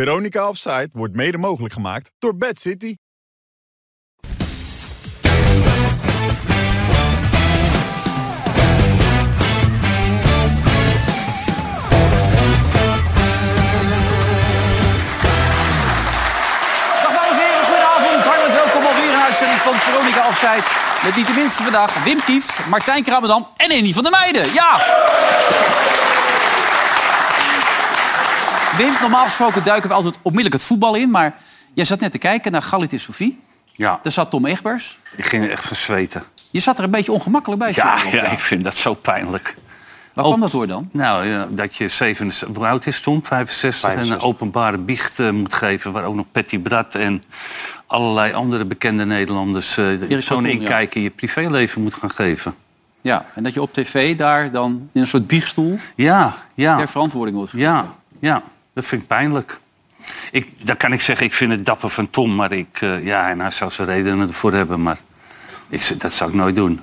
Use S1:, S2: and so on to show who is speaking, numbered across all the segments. S1: Veronica Offside wordt mede mogelijk gemaakt door Bad City.
S2: Dag dames en heren, goedenavond. Hartelijk welkom op weer een uitzending van Veronica Afzijd. Met niet de minste vandaag Wim Kieft, Martijn Kramadam en Annie van der Meijden. Ja! Wim, normaal gesproken duiken we altijd onmiddellijk het voetbal in, maar jij zat net te kijken naar Galit en Sofie.
S3: Ja,
S2: Daar zat Tom Egbers.
S3: ik ging er echt van zweten.
S2: Je zat er een beetje ongemakkelijk bij.
S3: Ja,
S2: vond ik.
S3: ja, ik vind dat zo pijnlijk.
S2: Waar kwam dat door dan?
S3: Nou, ja, dat je 7, hoe oud is Tom? 65, en een openbare biecht eh, moet geven... waar ook nog Patty Brat en allerlei andere bekende Nederlanders... eh
S2: Erik van
S3: zo'n
S2: Toen, ja.
S3: inkijk in je privéleven moet gaan geven.
S2: Ja, en dat je op tv daar dan in een soort biechtstoel
S3: Ja, ja.
S2: ter verantwoording wordt gegeven.
S3: Ja, ja, dat vind ik pijnlijk. Ik, dan kan ik zeggen, ik vind het dapper van Tom, maar ik, eh, ja, en hij zou zijn redenen ervoor hebben, maar ik, z- dat zou ik nooit doen.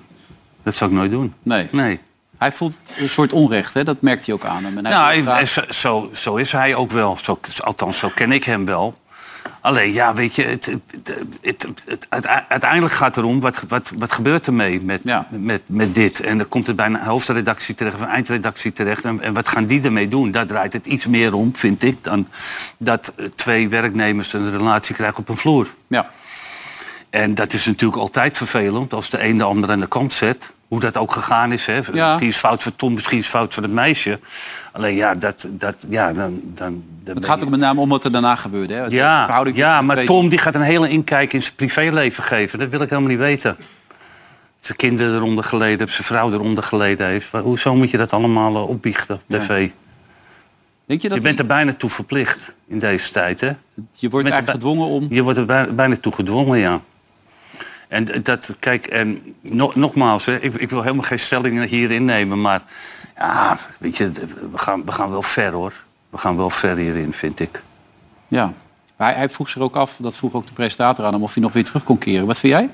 S3: Dat zou ik nooit doen.
S2: Nee.
S3: Nee.
S2: Hij voelt een soort onrecht, hè? dat merkt hij ook aan hem. En hij
S3: Nou,
S2: wil graag-
S3: en zo, zo, zo is hij ook wel. Zo, althans, zo ken ik hem wel. Alleen, ja, weet je, het, het, het, het- uite- uiteindelijk gaat het erom... Wat, wat, wat gebeurt er mee met,
S2: Ja.
S3: met, met dit? En dan komt het bij een hoofdredactie terecht... of een eindredactie terecht. En, en wat gaan die ermee doen? Daar draait het iets meer om, vind ik... dan dat eh, twee werknemers een relatie krijgen op een vloer.
S2: Ja.
S3: En dat is natuurlijk altijd vervelend als de een de ander aan de kant zet. Hoe dat ook gegaan is. Hè.
S2: Ja.
S3: Misschien is het fout voor Tom, misschien is het fout voor het meisje. Alleen ja, dat, dat, ja dan, dan, dan
S2: Het gaat ook met name om wat er daarna gebeurde. Hè? Het- de
S3: ja,
S2: verhouding
S3: ja,
S2: tussen de
S3: maar
S2: twee-
S3: Tom die gaat een hele inkijk in zijn privéleven geven. Dat wil ik helemaal niet weten. Zijn kinderen eronder geleden hebben, zijn vrouw eronder geleden heeft. Maar Hoezo moet je dat allemaal eh, opbiechten op tv?
S2: Denk je dat
S3: Je
S2: je,
S3: bent er bijna toe verplicht in deze tijd, hè?
S2: wordt
S3: bent
S2: eigenlijk gedwongen om...
S3: Je wordt er bij- bijna toe gedwongen, ja. En d- dat, kijk, en no- nogmaals, hè, ik, ik wil helemaal geen stelling hierin nemen, maar ja, weet je, d- we gaan, we gaan wel ver hoor. We gaan wel ver hierin, vind ik.
S2: Ja. Maar hij, hij vroeg zich ook af, dat vroeg ook de presentator aan hem, of hij nog weer terug kon keren. Wat vind jij?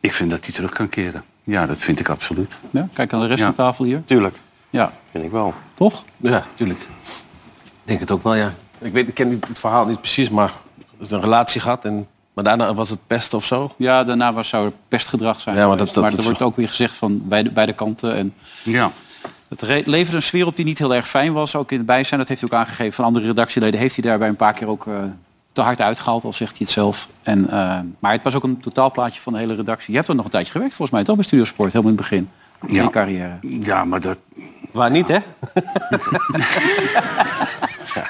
S3: Ik vind dat hij terug kan keren. Ja, dat vind ik absoluut.
S2: Ja, kijk aan de rest
S3: Ja.
S2: van de tafel hier.
S4: Tuurlijk,
S2: Ja,
S4: vind ik wel.
S2: toch?
S5: Ja, tuurlijk. Ik denk het ook wel, ja. Ik, weet, ik ken niet, het verhaal niet precies, maar het is een relatie gehad. En, maar daarna was het pesten of zo.
S2: Ja, daarna was, zou er pestgedrag zijn.
S5: Ja, maar dat-
S2: geweest.
S5: dat-
S2: maar
S5: dat
S2: er wordt
S5: zo-
S2: ook weer gezegd van beide, beide kanten. En
S3: Ja,
S2: het re- leverde een sfeer op die niet heel erg fijn was. Ook in het bijzijn, dat heeft hij ook aangegeven van andere redactieleden. Heeft hij daarbij een paar keer ook eh, te hard uitgehaald, al zegt hij het zelf. En, eh, maar het was ook een totaalplaatje van de hele redactie. Je hebt er nog een tijdje gewerkt volgens mij, toch? Bij Studiosport, helemaal in het begin. van
S3: Ja.
S2: Je carrière.
S3: ja maar dat...
S5: Waar niet, hè?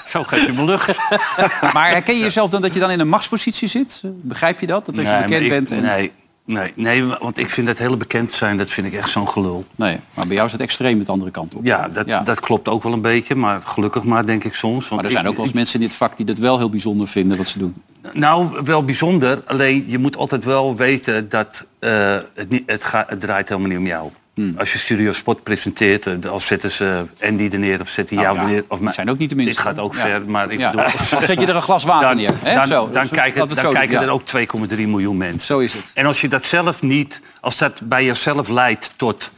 S3: Zo geef je me lucht.
S2: Maar herken je jezelf dan dat je dan in een machtspositie zit? Begrijp je dat? Dat als je
S3: Nee, maar
S2: bekend
S3: ik-
S2: bent en...
S3: Nee, nee, nee, want ik vind dat hele bekend zijn, dat vind ik echt zo'n gelul.
S2: Nee, maar bij jou is het extreem met de andere kant op.
S3: Ja dat,
S2: Ja.
S3: dat klopt ook wel een beetje, maar gelukkig maar, denk ik soms. Want
S2: maar er zijn
S3: ik-
S2: ook wel eens
S3: ik-
S2: mensen in dit vak die dat wel heel bijzonder vinden wat ze doen.
S3: Nou, wel bijzonder. Alleen je moet altijd wel weten dat eh, het, niet, het, ga- het draait helemaal niet om jou.
S2: Hmm.
S3: Als je Studio Sport presenteert, eh, dan zetten ze Andy er neer of zetten jou
S2: Nou ja,
S3: er neer. Of
S2: die
S3: mij-
S2: zijn ook niet de minste,
S3: Dit gaat ook
S2: ja.
S3: ver, maar ik
S2: Ja.
S3: bedoel...
S2: Dan zet je er een glas water
S3: Dan,
S2: neer. Hè?
S3: dan,
S2: Zo,
S3: dan
S2: dat is-
S3: kijken,
S2: laten we het
S3: dan
S2: zo doen,
S3: kijken
S2: ja.
S3: er ook 2,3 miljoen mensen.
S2: Zo is het.
S3: En als je dat zelf niet, als dat bij jezelf leidt tot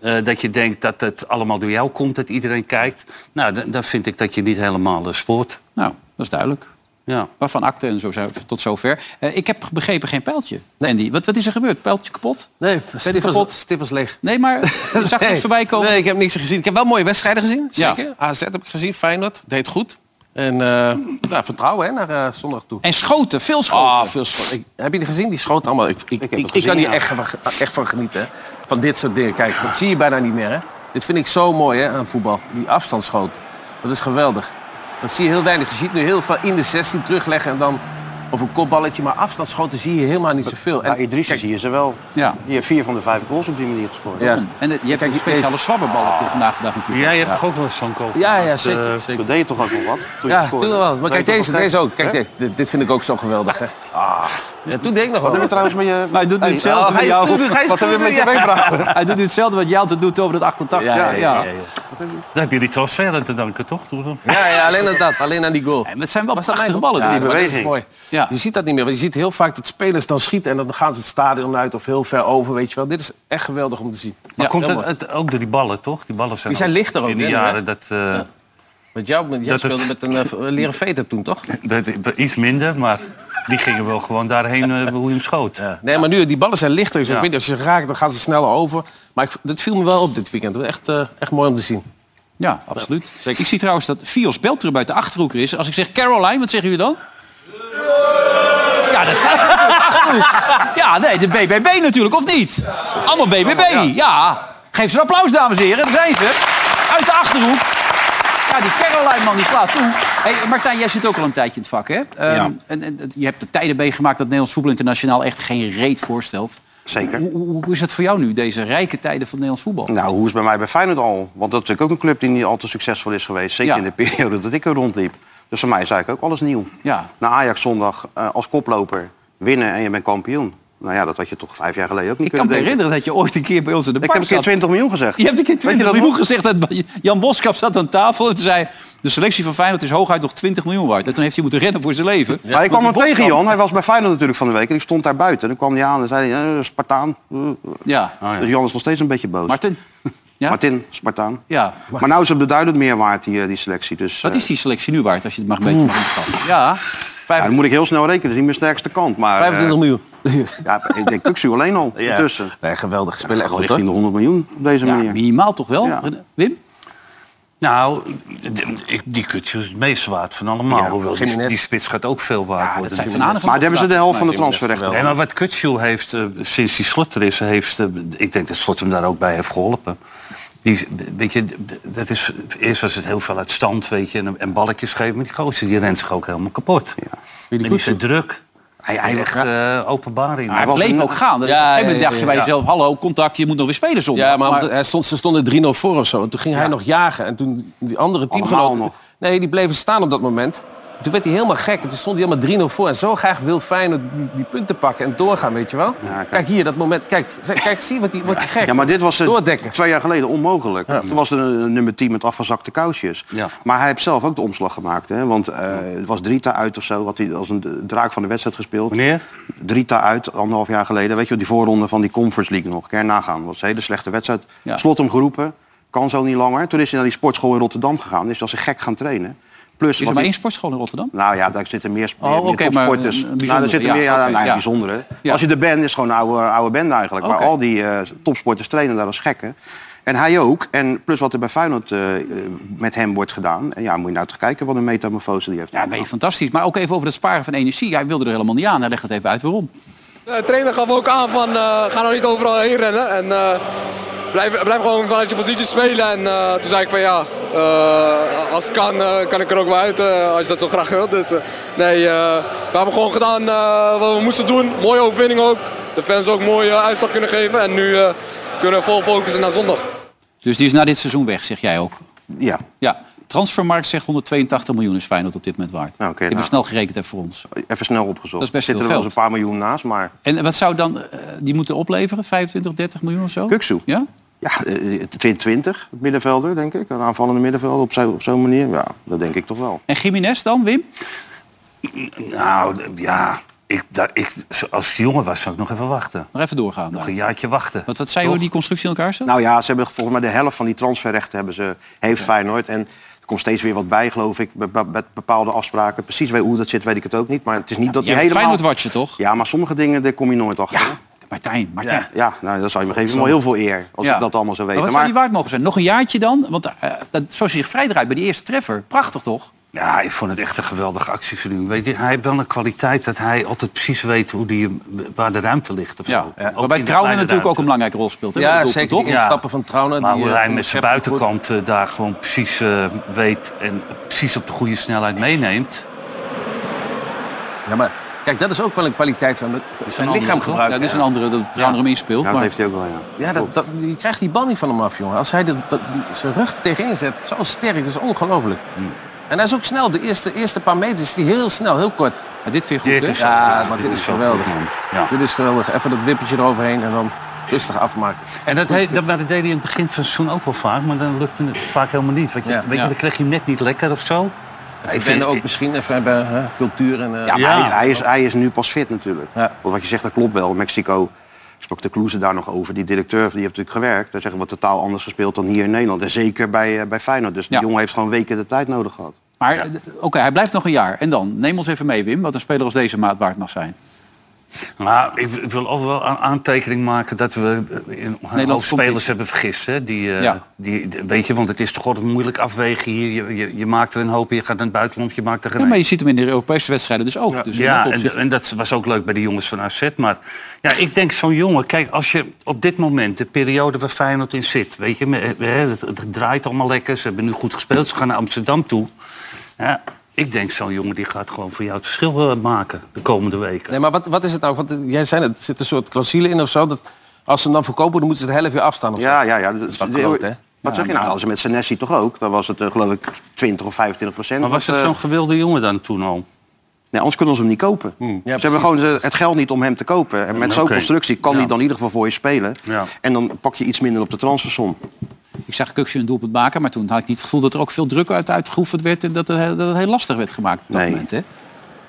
S3: eh, dat je denkt dat het allemaal door jou komt, dat iedereen kijkt, nou, dan, dan vind ik dat je niet helemaal eh, spoort.
S2: Nou, dat is duidelijk.
S3: Ja.
S2: Waarvan akte en zo zijn- tot zover. Eh, ik heb begrepen geen pijltje. Nee, Andy, wat, wat is er gebeurd? Pijltje kapot?
S5: Nee,
S2: je
S5: stif
S2: kapot?
S5: was, stif was leeg.
S2: Nee, maar je zag
S5: Nee,
S2: niks voorbij komen.
S5: Nee, ik heb niks gezien. Ik heb wel mooie wedstrijden gezien,
S2: Ja.
S5: zeker. AZ heb ik gezien, Feyenoord. Deed goed. En eh, nou, vertrouwen hè, naar eh, zondag toe.
S2: En schoten, veel schoten.
S3: Ah,
S5: Oh, veel schoten. Ik- heb je die gezien? Die schoten allemaal. Ik, ik, ik,
S4: het
S5: ik
S4: gezien,
S5: kan hier
S4: ja.
S5: echt, van- ah, echt van genieten. hè. Van dit soort dingen. Kijk, dat zie je bijna niet meer. Hè? Dit vind ik zo mooi hè, aan voetbal. Die afstandsschoten. Dat is geweldig. Dat zie je heel weinig. Je ziet nu heel veel in de 16 terugleggen en dan... Of een kopballetje, maar afstandsschoten zie je helemaal niet zoveel.
S4: Bij
S5: En,
S4: Idrissi zie je ze wel.
S2: Ja.
S4: Die heeft vier van de vijf goals op die manier gescoord.
S5: ja.
S2: En eh, je hebt
S5: Kijk,
S2: een
S5: die
S2: speciale zwabberballen vandaag de dag natuurlijk.
S3: Jij Ah. hebt ook wel eens zo'n koop.
S5: ja, ja, zeker. zeker.
S4: Dat deed je Eh, toch ook nog wat? Toen je
S5: Ja,
S4: scoorde?
S5: toen wel. Maar kijk,
S4: Deed
S5: deze,
S4: je toch nog
S5: deze
S4: gek?
S5: ook. Kijk,
S4: Hè?
S5: dit, dit- dit vind ik ook zo geweldig. Hè? Ah. Ja, toen deed ik nog
S4: Wat hebben we
S5: wel.
S4: trouwens met je...
S2: Maar Nou, hij doet nu
S4: Hey,
S2: hetzelfde
S4: oh,
S2: met
S4: hij is
S2: jou.
S4: nu- hij is Wat hebben we met je wenkbrauwen?
S2: Hij doet nu hetzelfde wat jij altijd doet over dat 88.
S5: Ja, ja, ja. ja.
S3: Daar heb je die transfer aan te danken, toch? Toen-
S5: Ja, ja, alleen aan dat. Alleen aan die goal.
S2: En het zijn wel
S5: Was dat
S2: prachtige
S5: mijn
S2: ballen.
S5: Ja,
S2: die-
S4: Die
S5: maar dat is
S4: beweging.
S5: mooi.
S2: Ja.
S5: Je ziet dat niet meer. Want je ziet heel vaak dat spelers dan schieten... en dan gaan ze het stadion uit of heel ver over, weet je wel. Dit is echt geweldig om te zien.
S3: Maar komt
S5: heel
S3: het,
S5: mooi.
S3: het ook door die ballen, toch? Die ballen zijn,
S5: Die zijn lichter ook,
S3: In de
S5: hè,
S3: jaren dat... eh,
S5: Want jou, jij
S3: Dat het-
S5: speelde met een eh, leren veter toen, toch?
S3: Dat, dat- iets minder, maar die gingen wel gewoon daarheen eh, hoe je hem schoot.
S5: Nee, maar nu, die ballen zijn lichter. Dus
S3: Ja.
S5: ik weet, niet, als je ze raakt, dan gaan ze sneller over. Maar ik, dat viel me wel op dit weekend. Echt, eh, echt mooi om te zien.
S2: Ja, absoluut. Ik zie trouwens dat Fios Beltrub uit de Achterhoek er is. Als ik zeg Caroline, wat zeggen jullie dan? Ja, dat gaat natuurlijk. Achterhoek. Ja, nee, de BBB natuurlijk, of niet? Allemaal BBB, ja. Geef ze een applaus, dames en heren. Daar zijn ze. Uit de Achterhoek. Ja, die Caroline man, die slaat toe. Hey, Martijn, jij zit ook al een tijdje in het vak, hè? Ehm,
S4: Ja.
S2: en, en, je hebt de tijden meegemaakt dat Nederlands voetbal internationaal echt geen reet voorstelt.
S4: Zeker.
S2: Hoe, hoe, hoe is dat voor jou nu, deze rijke tijden van Nederlands voetbal?
S4: Nou, hoe is het bij mij bij Feyenoord al? Want dat is natuurlijk ook een club die niet al te succesvol is geweest. Zeker
S2: Ja.
S4: in de periode dat ik er rondliep. Dus voor mij is eigenlijk ook alles nieuw.
S2: Ja.
S4: Na Ajax zondag eh, als koploper winnen en je bent kampioen. Nou ja, dat had je toch vijf jaar geleden ook niet
S2: Ik kan
S4: kunnen
S2: me
S4: denken.
S2: herinneren dat je ooit een keer bij ons in de
S4: Ik heb
S2: bar
S4: een keer
S2: zat.
S4: 20 miljoen gezegd.
S2: Je hebt een keer
S4: Weet je
S2: 20
S4: dat
S2: miljoen
S4: nog?
S2: gezegd. Dat Jan Boskap zat aan tafel en toen zei... de selectie van Feyenoord is hooguit nog 20 miljoen waard. En toen heeft hij moeten rennen voor zijn leven.
S4: maar ik kwam hem
S2: Want die
S4: tegen,
S2: Boskap-
S4: Jan. Hij was bij Feyenoord natuurlijk van de week. En ik stond daar buiten. En dan kwam hij aan en zei hij, eh, Spartaan. Eh, eh.
S2: Oh, Ja.
S4: Dus Jan is nog steeds een beetje boos.
S2: Martin? Ja?
S4: Martin, Spartaan.
S2: Ja.
S4: Maar nou is het beduidend meer waard, die, eh, die selectie. Dus,
S2: Wat
S4: eh,
S2: is die selectie nu waard, als je het mag een beetje mag inschatten? Ja.
S4: ja, dan moet ik heel snel rekenen. Dat is niet mijn sterkste kant. Maar, eh,
S5: 25 miljoen.
S4: Ja, ik denk Kuxu alleen al. Ja. Tussen.
S5: Nee, geweldig.
S4: We
S5: Spelen echt
S4: leggen
S5: goed,
S4: richting
S5: hoor.
S4: de 100 miljoen op deze
S2: ja,
S4: manier.
S2: minimaal toch wel,
S4: Ja.
S2: Wim?
S3: Nou, d- ik- die kutje is het meest waard van allemaal.
S4: Ja,
S3: hoewel die,
S5: Jiménez.
S3: die spits gaat ook veel waard
S2: Ja, dat
S3: worden.
S2: zijn Van Aanen
S4: Maar
S2: van
S4: daar hebben ze de helft van de
S5: Nee, die
S2: Oh.
S4: transferrechten.
S3: Nee, maar wat Kutsjoe heeft, eh, sinds die slot er is, heeft, eh, ik denk dat slot hem daar ook bij heeft geholpen. Die, is- weet je, d- dat is, eerst was het heel veel uit stand, weet je, en, en balletjes geven. Maar die gozer, die rent zich ook helemaal kapot. En die is zo druk.
S4: Hij,
S3: Hij
S4: hij,
S3: echt eh, openbaring.
S2: Hij
S4: was
S2: bleef
S4: een-
S2: ook gaan.
S5: Ja,
S2: Ja, op een gegeven moment
S5: ja,
S2: dacht je bij
S5: ja.
S2: jezelf... hallo, contact, je moet nog weer spelen zondag.
S5: Ja, maar, hij stond, ze stonden 3-0 voor of zo. En toen ging hij nog jagen. En toen die andere teamgenoten...
S4: nog.
S5: Nee, die bleven staan op dat moment. Toen werd hij helemaal gek. En toen stond hij helemaal 3-0 voor. En zo graag wil Feyenoord die, die punten pakken en doorgaan, weet je wel.
S4: kijk.
S5: kijk. hier, dat moment. Kijk, ze- kijk zie wat die, wordt die gek.
S4: ja, maar dit was eh,
S5: Doordekken.
S4: twee jaar geleden onmogelijk. Toen was er een, een nummer 10 met afgezakte kousjes.
S3: Ja.
S4: Maar hij heeft zelf ook de omslag gemaakt. Hè? Want eh, het was Drita uit of zo. Had hij als een d- draak van de wedstrijd gespeeld.
S3: Wanneer?
S4: Drita uit, anderhalf jaar geleden. Weet je wel, die voorronde van die Conference League nog. Kan je nagaan. was een hele slechte wedstrijd.
S2: Ja.
S4: Slot hem geroepen. Kan zo niet langer. Toen is hij naar die sportschool in Rotterdam gegaan. Is als een gek gaan trainen. Plus,
S2: is
S4: wat
S2: er
S4: hij-
S2: maar één sportschool in Rotterdam?
S4: Nou ja, daar zitten meer, meer,
S2: Oh,
S4: meer
S2: oké, maar
S4: topsporters.
S2: een- een
S4: nou, daar
S2: bijzondere,
S4: zitten
S2: ja,
S4: meer, ja,
S2: oké,
S4: nou,
S2: ja.
S4: bijzondere.
S2: Ja.
S4: Als je er bent, is het gewoon een oude, oude band eigenlijk.
S2: Oké.
S4: Waar al die eh, topsporters trainen daar als gekken. En hij ook. En plus wat er bij Feyenoord eh, eh, met hem wordt gedaan. En ja, moet je nou toch kijken wat een metamorfose die heeft.
S2: Ja, nee, Oh, fantastisch. Maar ook even over dat sparen van energie. Hij wilde er helemaal niet aan. Hij legt het even uit waarom.
S6: De trainer gaf ook aan van eh, ga nou niet overal heen rennen en eh, blijf, blijf gewoon vanuit je positie spelen. En eh, toen zei ik van ja, eh, als het kan, eh, kan ik er ook wel uit eh, als je dat zo graag wilt. Dus eh, nee, eh, we hebben gewoon gedaan eh, wat we moesten doen. Mooie overwinning ook. De fans ook mooie uitslag kunnen geven. En nu eh, kunnen we vol focussen naar zondag.
S2: Dus die is na dit seizoen weg, zeg jij ook.
S4: ja.
S2: Ja, transfermarkt zegt 182 miljoen is Feyenoord op dit moment waard.
S4: Nou,
S2: Nou,
S4: oké,
S2: ik heb
S4: nou.
S2: snel gerekend hè, voor ons.
S4: even snel opgezocht.
S2: Dat is best
S4: zitten er
S2: veel
S4: wel eens een paar miljoen naast. Maar
S2: En wat zou dan eh, die moeten opleveren? 25, 30 miljoen of zo?
S4: Kuksu.
S2: Ja?
S4: ja, eh, 2020, middenvelder denk ik. Een aanvallende middenvelder op zo'n op zo'n manier. Ja, dat denk ik toch wel.
S2: En Jiménez dan, Wim?
S3: Nou, d- ja, ik, daar, ik, als ik jongen was, zou ik nog even wachten.
S2: Nog even doorgaan.
S3: Nog
S2: daar.
S3: een jaartje wachten.
S2: Want wat zei je hoe die constructie in elkaar zat?
S4: Nou ja, ze hebben volgens mij de helft van die transferrechten hebben ze, heeft Feyenoord. En er komt steeds weer wat bij, geloof ik, be- be- met bepaalde afspraken. Precies waar- hoe dat zit, weet ik het ook niet. Maar het is niet dat je
S2: Jij bent
S4: helemaal...
S2: Feyenoord watchen toch?
S4: Ja, maar sommige dingen, daar kom je nooit achter. hè?
S2: Martijn, Martijn.
S4: Ja, nou, dat zou je me geven. Maar heel veel eer, als
S2: Ja.
S4: ik dat allemaal zou
S2: Maar
S4: weten.
S2: wat zou die waard mogen zijn? Nog een jaartje dan? Want eh, dat, zoals hij zich vrij draait bij die eerste treffer. Prachtig toch?
S3: Ja, ik vond het echt een geweldige actie van u. Weet je, hij heeft wel een kwaliteit dat hij altijd precies weet hoe die, hem- waar de ruimte ligt. Of
S2: Ja.
S3: zo.
S2: ja.
S3: Ook
S2: Waarbij
S3: in de
S2: Trouwen
S3: kleine
S2: natuurlijk ook een
S3: ruimte.
S2: belangrijke rol speelt. hè, bij
S5: Ja,
S2: dat doelpunt,
S5: zeker. Die
S2: toch?
S3: Ja.
S5: instappen van Trauner.
S3: Maar
S5: die,
S3: hoe
S5: eh,
S3: hij
S5: die
S3: met zijn
S5: schept goed.
S3: buitenkant eh, daar gewoon precies eh, weet en precies op de goede snelheid meeneemt.
S5: Ja, maar kijk, dat is ook wel een kwaliteit van hem. zijn lichaam
S2: gebruikt. Ja,
S5: gebruiken.
S2: dat is een andere dat Trouwen hem inspeelt.
S4: Ja, dat
S2: maar...
S4: heeft hij ook wel, ja.
S5: Ja, dat, dat, je krijgt die bal niet van hem af, jongen. Als hij de, dat, die, zijn rug er tegenin zet, zo sterk, dat is ongelooflijk.
S2: Hmm.
S5: En hij is ook snel. De eerste, eerste paar meters is die heel snel, heel kort.
S2: Maar dit vind je goed,
S3: Dit
S2: hè?
S3: is,
S5: Ja,
S3: ja,
S5: maar dit is
S3: zo
S5: geweldig.
S3: goed, man. Ja.
S5: Dit is geweldig. Even dat wippertje eroverheen en dan rustig afmaken.
S3: En dat, he, dat, maar dat deed hij in het begin van het seizoen ook wel vaak, maar dan lukte het vaak helemaal niet. Want je,
S5: Ja.
S3: weet je,
S2: Ja.
S3: dan kreeg je hem net niet lekker of zo.
S5: Ik ben ook misschien even bij hè, cultuur en... eh,
S4: Ja, maar
S3: Ja.
S4: Hij, hij is, hij is nu pas fit natuurlijk.
S5: Ja.
S4: Want wat je zegt, dat klopt wel. Mexico sprak de Kloeze daar nog over. Die directeur, die heeft natuurlijk gewerkt. Daar zeggen we totaal anders gespeeld dan hier in Nederland. En zeker bij, eh, bij Feyenoord. Dus die
S2: Ja.
S4: jongen heeft gewoon weken de tijd nodig gehad.
S2: Maar eh, oké, hij blijft nog een jaar. En dan? Neem ons even mee, Wim, wat een speler als deze maat waard mag zijn.
S3: Nou, ik, ik wil altijd wel een aantekening maken dat we eh, in een hoop spelers
S2: competitie.
S3: hebben vergist. Hè? Die, eh,
S2: Ja.
S3: die, d- weet je, want het is toch altijd moeilijk afwegen hier. Je, je, je maakt er een hoop, je gaat naar het buitenland, je maakt er geen
S2: Ja, maar je ziet hem in de Europese wedstrijden dus ook. Dus in
S3: ja,
S2: dat
S3: en,
S2: opzicht-
S3: en dat was ook leuk bij de jongens van AZ. Maar ja, ik denk zo'n jongen... Kijk, als je op dit moment, de periode waar Feyenoord in zit... Weet je, me- eh, het, het draait allemaal lekker. Ze hebben nu goed gespeeld. Ze gaan naar Amsterdam toe. Ja, ik denk zo'n jongen die gaat gewoon voor jou het verschil eh, maken de komende weken.
S5: Nee, maar wat, wat is het nou? Want eh, jij zei het, er zit een soort clausule in of zo. Dat als ze hem dan verkopen, dan moeten ze het half jaar afstaan. Of zo.
S4: Ja, ja, ja. Dat
S5: is wel groot, hè?
S4: Wat zeg je nou? Als ze met Senesi toch ook? Dan was het eh, geloof ik 20 of 25 procent.
S3: Maar was
S4: Want,
S3: het
S4: eh,
S3: zo'n gewilde jongen dan toen al?
S4: Nee, anders kunnen ze hem niet kopen. ze
S5: precies.
S4: hebben gewoon de- het geld niet om hem te kopen. En met zo'n
S3: Oké.
S4: constructie kan
S3: Ja.
S4: hij dan in ieder geval voor je spelen.
S3: Ja.
S4: En dan pak je iets minder op de transfersom.
S2: Ik zag Kuksje een doelpunt maken, maar toen had ik niet het gevoel dat er ook veel druk uit uitgeoefend werd en dat, het- dat het heel lastig werd gemaakt op dat
S4: Nee.
S2: moment. Hè?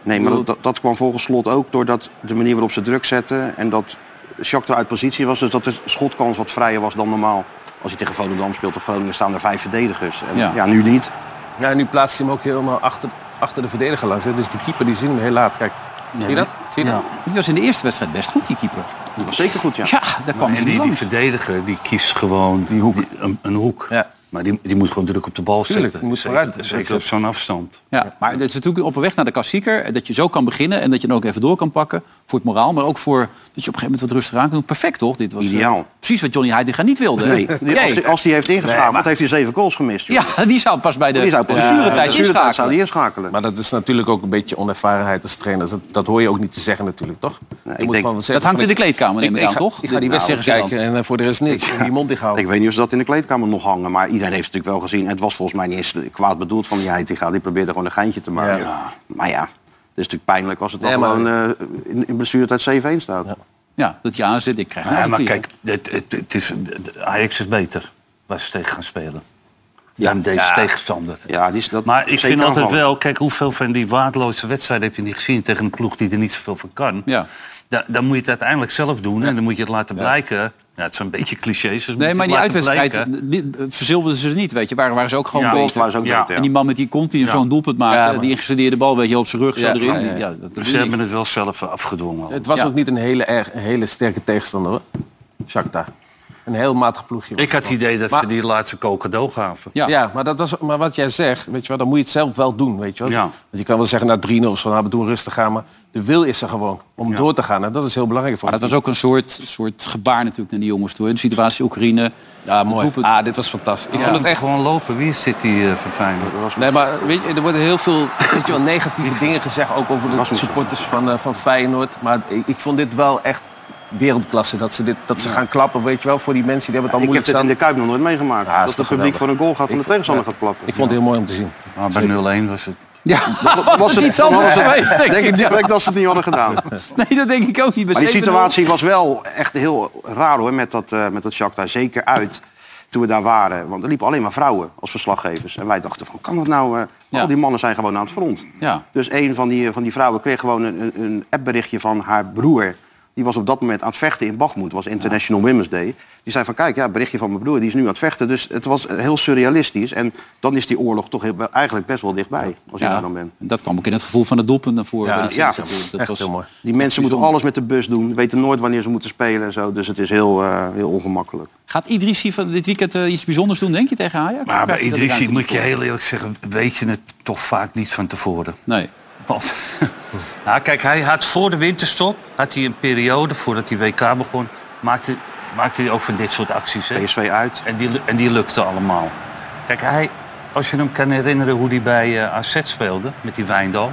S4: Nee, maar dat, dat, dat kwam volgens slot ook doordat de manier waarop ze druk zetten... en dat Shakhtar uit positie was. Dus dat de schotkans wat vrijer was dan normaal. Als hij tegen Volendam speelt of Groningen staan er vijf verdedigers. En,
S2: Ja.
S4: ja. nu niet.
S5: Ja, nu plaatst hij hem ook helemaal achter, achter de verdediger langs. hè. Dus die keeper die ziet hem heel laat. Kijk, zie je dat? Zie je dat?
S2: Die was in de eerste wedstrijd best goed, die keeper.
S4: Dat was zeker goed, ja.
S2: Ja, daar kwam
S3: En
S2: hij
S3: die, die
S2: langs.
S3: verdediger, die kiest gewoon die- een, een hoek.
S5: Ja.
S3: Maar die, die moet gewoon druk op de bal
S5: Tuurlijk,
S3: zetten.
S5: die moet
S3: Zeker-
S5: vooruit.
S3: Zeker op zo'n afstand.
S2: Ja, maar het is natuurlijk op weg naar de klassieker. eh, Dat je zo kan beginnen en dat je dan ook even door kan pakken. Voor het moraal, maar ook voor dat je op een gegeven moment wat rustig aan kan doen. Perfect toch? Dit was eh,
S4: Ideaal.
S2: precies wat Johnny Heidegger niet wilde. hè?
S4: Nee, die- als,
S2: Jee.
S4: die, als die heeft ingeschakeld,
S3: Nee, maar-
S4: heeft hij zeven goals gemist. joh.
S2: Ja, die zou pas bij de
S4: Die zou pas
S2: blessuretijd
S4: ja, blessuretijd zou
S2: inschakelen.
S4: die inschakelen.
S5: Maar dat is natuurlijk ook een beetje onervarenheid als trainer. Dat, dat hoor je ook niet te zeggen natuurlijk, toch? Je
S4: denk-
S5: gewoon zeggen
S2: Dat hangt in
S5: van,
S2: de kleedkamer, neem ik,
S5: ik
S2: aan,
S5: ga,
S2: toch?
S5: Ik ga
S2: Dit-
S5: die wedstrijd
S2: Nou,
S5: kijken en eh, voor de rest niks. En Die mond dicht houden.
S4: Ik weet niet of ze dat in de kleedkamer nog hangen, maar iedereen heeft het natuurlijk wel gezien. En het was volgens mij niet eens kwaad bedoeld van die Heitinga. Die probeerde gewoon een geintje te maken.
S3: Ja.
S4: Maar ja, het is natuurlijk pijnlijk als het dan
S5: Nee, maar-
S4: gewoon eh, in, in blessuretijd 7-1 staat.
S2: Ja, dat je aanzet, ik krijg
S3: Ja,
S2: nou
S3: maar
S2: een
S3: kijk, het, het, het is, Ajax is beter waar ze tegen gaan spelen. Dan deze tegenstander.
S4: Ja, die is dat
S3: Maar ik
S4: zeker
S3: vind altijd
S4: aanvallen.
S3: wel, kijk hoeveel van die waardeloze wedstrijden heb je niet gezien tegen een ploeg die er niet zoveel van kan.
S2: Ja.
S3: Da- dan moet je het uiteindelijk zelf doen en dan moet je het laten blijken. Ja, het zijn een beetje clichés. dus moet
S2: Nee,
S3: je
S2: maar
S3: het
S2: die
S3: laten
S2: uitwedstrijd
S3: blijken.
S2: eh, die, eh, verzilverden ze niet, weet je. Waren, waren ze ook gewoon
S3: Ja,
S2: beter.
S3: klopt,
S4: waren ze ook beter, ja.
S2: En die man met die kont die hem zo'n doelpunt maakte, die ingestudeerde bal, weet je, op zijn rug zo
S5: Ja,
S2: erin.
S5: ja, ja.
S2: Die- Ja, dat doe
S3: Ze
S2: je niet.
S3: hebben het wel zelf afgedwongen. al.
S5: Het was
S2: Ja.
S5: ook niet een hele, erg, een hele sterke tegenstander, hoor. Shakhtar. Een heel matig ploegje.
S3: Ik had het idee dat ze
S5: Maar-
S3: die laatste kool cadeau gaven.
S2: Ja.
S5: Ja, maar, dat was, maar wat jij zegt, weet je wel, dan moet je het zelf wel doen. Weet je wel.
S3: Ja.
S5: Want je kan wel zeggen na 3-0 of zo, nou, we doen rustig aan. Maar de wil is er gewoon om door te gaan. En dat is heel belangrijk voor
S2: Maar dat was ook een soort, soort gebaar natuurlijk naar die jongens toe. hè. De situatie Oekraïne.
S5: Ja, mooi.
S2: doelpunt.
S5: Ah, dit was fantastisch. Ik vond het echt...
S3: gewoon lopen. Wie zit die uh, verfijnd?
S5: Nee, maar weet je, er worden heel veel weet je wel, negatieve dingen gezegd. Ook over de
S4: Was niet zo.
S5: supporters van, eh, van Feyenoord. Maar ik, ik vond dit wel echt wereldklasse. Dat ze, dit, dat ze gaan klappen, weet je wel, voor die mensen die hebben het al
S4: Ik heb
S5: moeilijk
S4: dit in
S5: staan.
S4: de Kuip nog nooit meegemaakt.
S5: Ja, is
S4: dat
S5: toch
S4: het publiek
S5: geweldig.
S4: voor een goal gaat van de tegenstander gaat klappen.
S5: Ik vond het heel mooi om te zien.
S3: Ah, bij 0-1 was het.
S2: Ja,
S4: Dat was het,
S2: iets
S4: dan hadden
S2: anders
S4: ze-
S2: geweest, denk
S4: denk
S2: ik.
S4: ik direct dat ze het niet hadden gedaan.
S2: Nee, dat denk ik ook niet. Bij
S4: Maar die
S2: 7-0.
S4: situatie was wel echt heel raar hoor, met dat, eh met dat Shakhtar. Zeker uit toen we daar waren. Want er liepen alleen maar vrouwen als verslaggevers. En wij dachten van, kan dat nou? eh,
S2: Ja.
S4: Al die mannen zijn gewoon aan het front.
S2: Ja.
S4: Dus een van die, van die vrouwen kreeg gewoon een, een- een appberichtje van haar broer. Die was op dat moment aan het vechten in Bagmoed. was International Women's Day. Die zei van, kijk, ja, berichtje van mijn broer, die is nu aan het vechten. Dus het was heel surrealistisch. En dan is die oorlog toch heel- eigenlijk best wel dichtbij, als je
S2: Ja,
S4: daar dan bent.
S2: en dat kwam ook in het gevoel van het doelpunt naar voren.
S5: Ja,
S2: bij die
S4: ja,
S2: sensatie. dat
S5: echt
S2: was
S5: heel mooi.
S4: Die mensen moeten alles met de bus doen, weten nooit wanneer ze moeten spelen en zo. Dus het is heel, eh, heel ongemakkelijk.
S2: Gaat Idrissi van dit weekend eh, iets bijzonders doen, denk je, tegen Ajax?
S3: Maar bij
S2: Kijk, dat
S3: Idrissi
S2: ruimte
S3: moet je
S2: voor.
S3: heel eerlijk zeggen, weet je het toch vaak niet van tevoren.
S2: Nee.
S3: Want, nou, kijk, hij had voor de winterstop, had hij een periode voordat die WK begon, maakte, maakte hij ook van dit soort acties. Hè?
S4: PSV uit.
S3: En, die, lu- en die lukte allemaal. Kijk, hij, als je hem kan herinneren hoe hij bij eh, AZ speelde, met die Wijndal.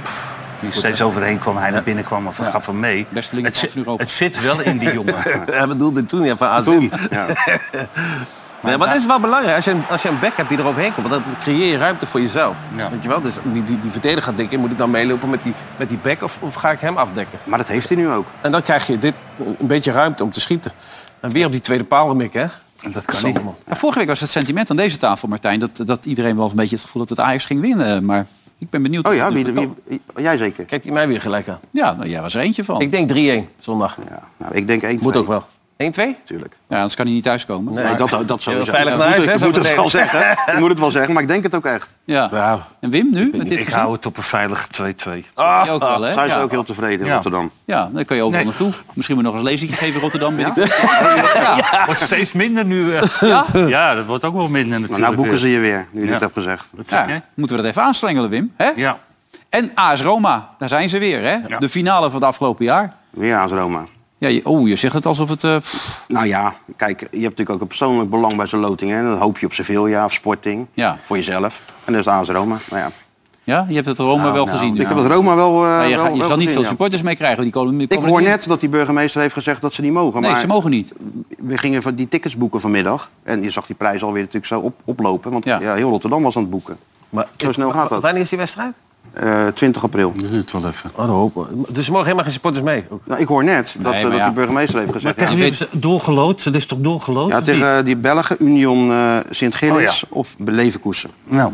S3: Die steeds overheen kwam, hij naar binnen kwam of gaf hem mee.
S2: Beste
S3: het,
S2: linkerkant
S3: zit,
S2: van Europa.
S3: het zit wel in die jongen.
S5: Hij bedoelde toen ja, van AZ.
S4: Ja.
S5: Nee, maar dat is wel belangrijk. Als je, een- als je een back hebt die eroverheen komt, dan creëer je ruimte voor jezelf.
S3: Ja.
S5: Weet je wel? Dus die, die, die verdediger gaat denken, moet ik dan meelopen met die, met die back of, of ga ik hem afdekken?
S4: Maar dat heeft hij nu ook.
S5: En dan krijg je dit een beetje ruimte om te schieten. En weer op die tweede paal mikken, hè?
S3: Dat kan niet.
S2: Ja, Nou, vorige week was het sentiment aan deze tafel, Martijn, dat, dat iedereen wel een beetje het gevoel had dat het Ajax ging winnen. Maar ik ben benieuwd.
S4: Oh
S2: of
S4: ja,
S2: het nu
S4: wie,
S2: gaat
S4: wie, jij zeker?
S5: Kijkt hij mij weer gelijk aan.
S4: Oh.
S2: komen. Ja, nou, jij was er eentje van.
S5: Ik denk 3-1 zondag.
S4: Ja. Nou, ik denk één.
S5: Moet
S4: twee.
S5: ook wel. 1-2?
S4: natuurlijk.
S2: Ja, anders kan hij niet thuiskomen.
S4: Nee, dat, dat
S5: heel
S4: sowieso.
S5: veilig
S4: Ik
S5: naar
S4: moet,
S5: huis, hè,
S4: ik
S5: zo
S4: moet het
S5: meteen.
S4: wel zeggen. Ik moet het wel zeggen, maar ik denk het ook echt.
S2: Ja.
S5: Nou,
S2: En Wim nu? Met dit
S3: Ik
S2: gezin?
S3: hou het op een veilig 2-2.
S2: Die ook wel, hè?
S4: Zijn ze
S2: ja.
S4: ook heel tevreden in
S3: Ja.
S4: Rotterdam.
S2: ja, dan kan je overal naartoe. Misschien moet je nog eens lezing geven in Rotterdam. weet ik wel.
S3: wordt steeds minder nu. eh. Ja? dat wordt ook wel minder
S4: Maar
S3: natuurlijk. eh.
S4: nou boeken ze je weer, nu je
S3: Ja.
S4: dit hebt gezegd.
S2: Ja, moeten we dat even aanslengelen, Wim? Hè?
S3: Ja.
S2: En AS Roma, daar zijn ze weer, hè? De finale van het afgelopen jaar.
S4: Weer aan Roma.
S2: Ja, je, oh, je zegt het alsof het... eh, pff,
S4: Nou ja, kijk, je hebt natuurlijk ook een persoonlijk belang bij zo'n loting. Hè? Dan hoop je op Sevilla of Sporting.
S2: Ja.
S4: Voor jezelf. En dus de AS Roma. Nou ja.
S2: ja, je hebt het Roma wel
S4: Nou,
S2: gezien. nu.
S4: Ik heb dat Roma wel... eh,
S2: Ja, je
S4: wel-
S2: gaat- je zal
S4: wel
S2: niet
S4: gezien,
S2: veel
S4: ja.
S2: supporters mee krijgen. Die komen, die
S4: Ik
S2: komen
S4: hoor
S2: niet in.
S4: net dat die burgemeester heeft gezegd dat ze niet mogen.
S2: Nee,
S4: maar
S2: ze mogen niet.
S4: we gingen van die tickets boeken vanmiddag. En je zag die prijs alweer natuurlijk zo op, oplopen. Want
S2: Ja.
S4: ja. heel Rotterdam was aan het boeken.
S5: maar,
S4: Zo snel gaat dat.
S5: Wanneer is die wedstrijd?
S4: Eh, 20 april.
S3: duurt wel even.
S5: Oh, dat hopen. Dus er mogen helemaal geen supporters mee. Ook.
S4: Nou, ik hoor net dat,
S2: Nee,
S4: eh,
S2: maar
S4: dat
S2: ja.
S4: de burgemeester heeft gezegd.
S7: Tegen
S4: ja.
S7: wie hebben ze doorgeloot? Dat is toch doorgeloot?
S4: Ja,
S7: of niet?
S4: tegen eh, die Belgen, Union eh Sint-Gilles of Leverkusen.
S3: Nou,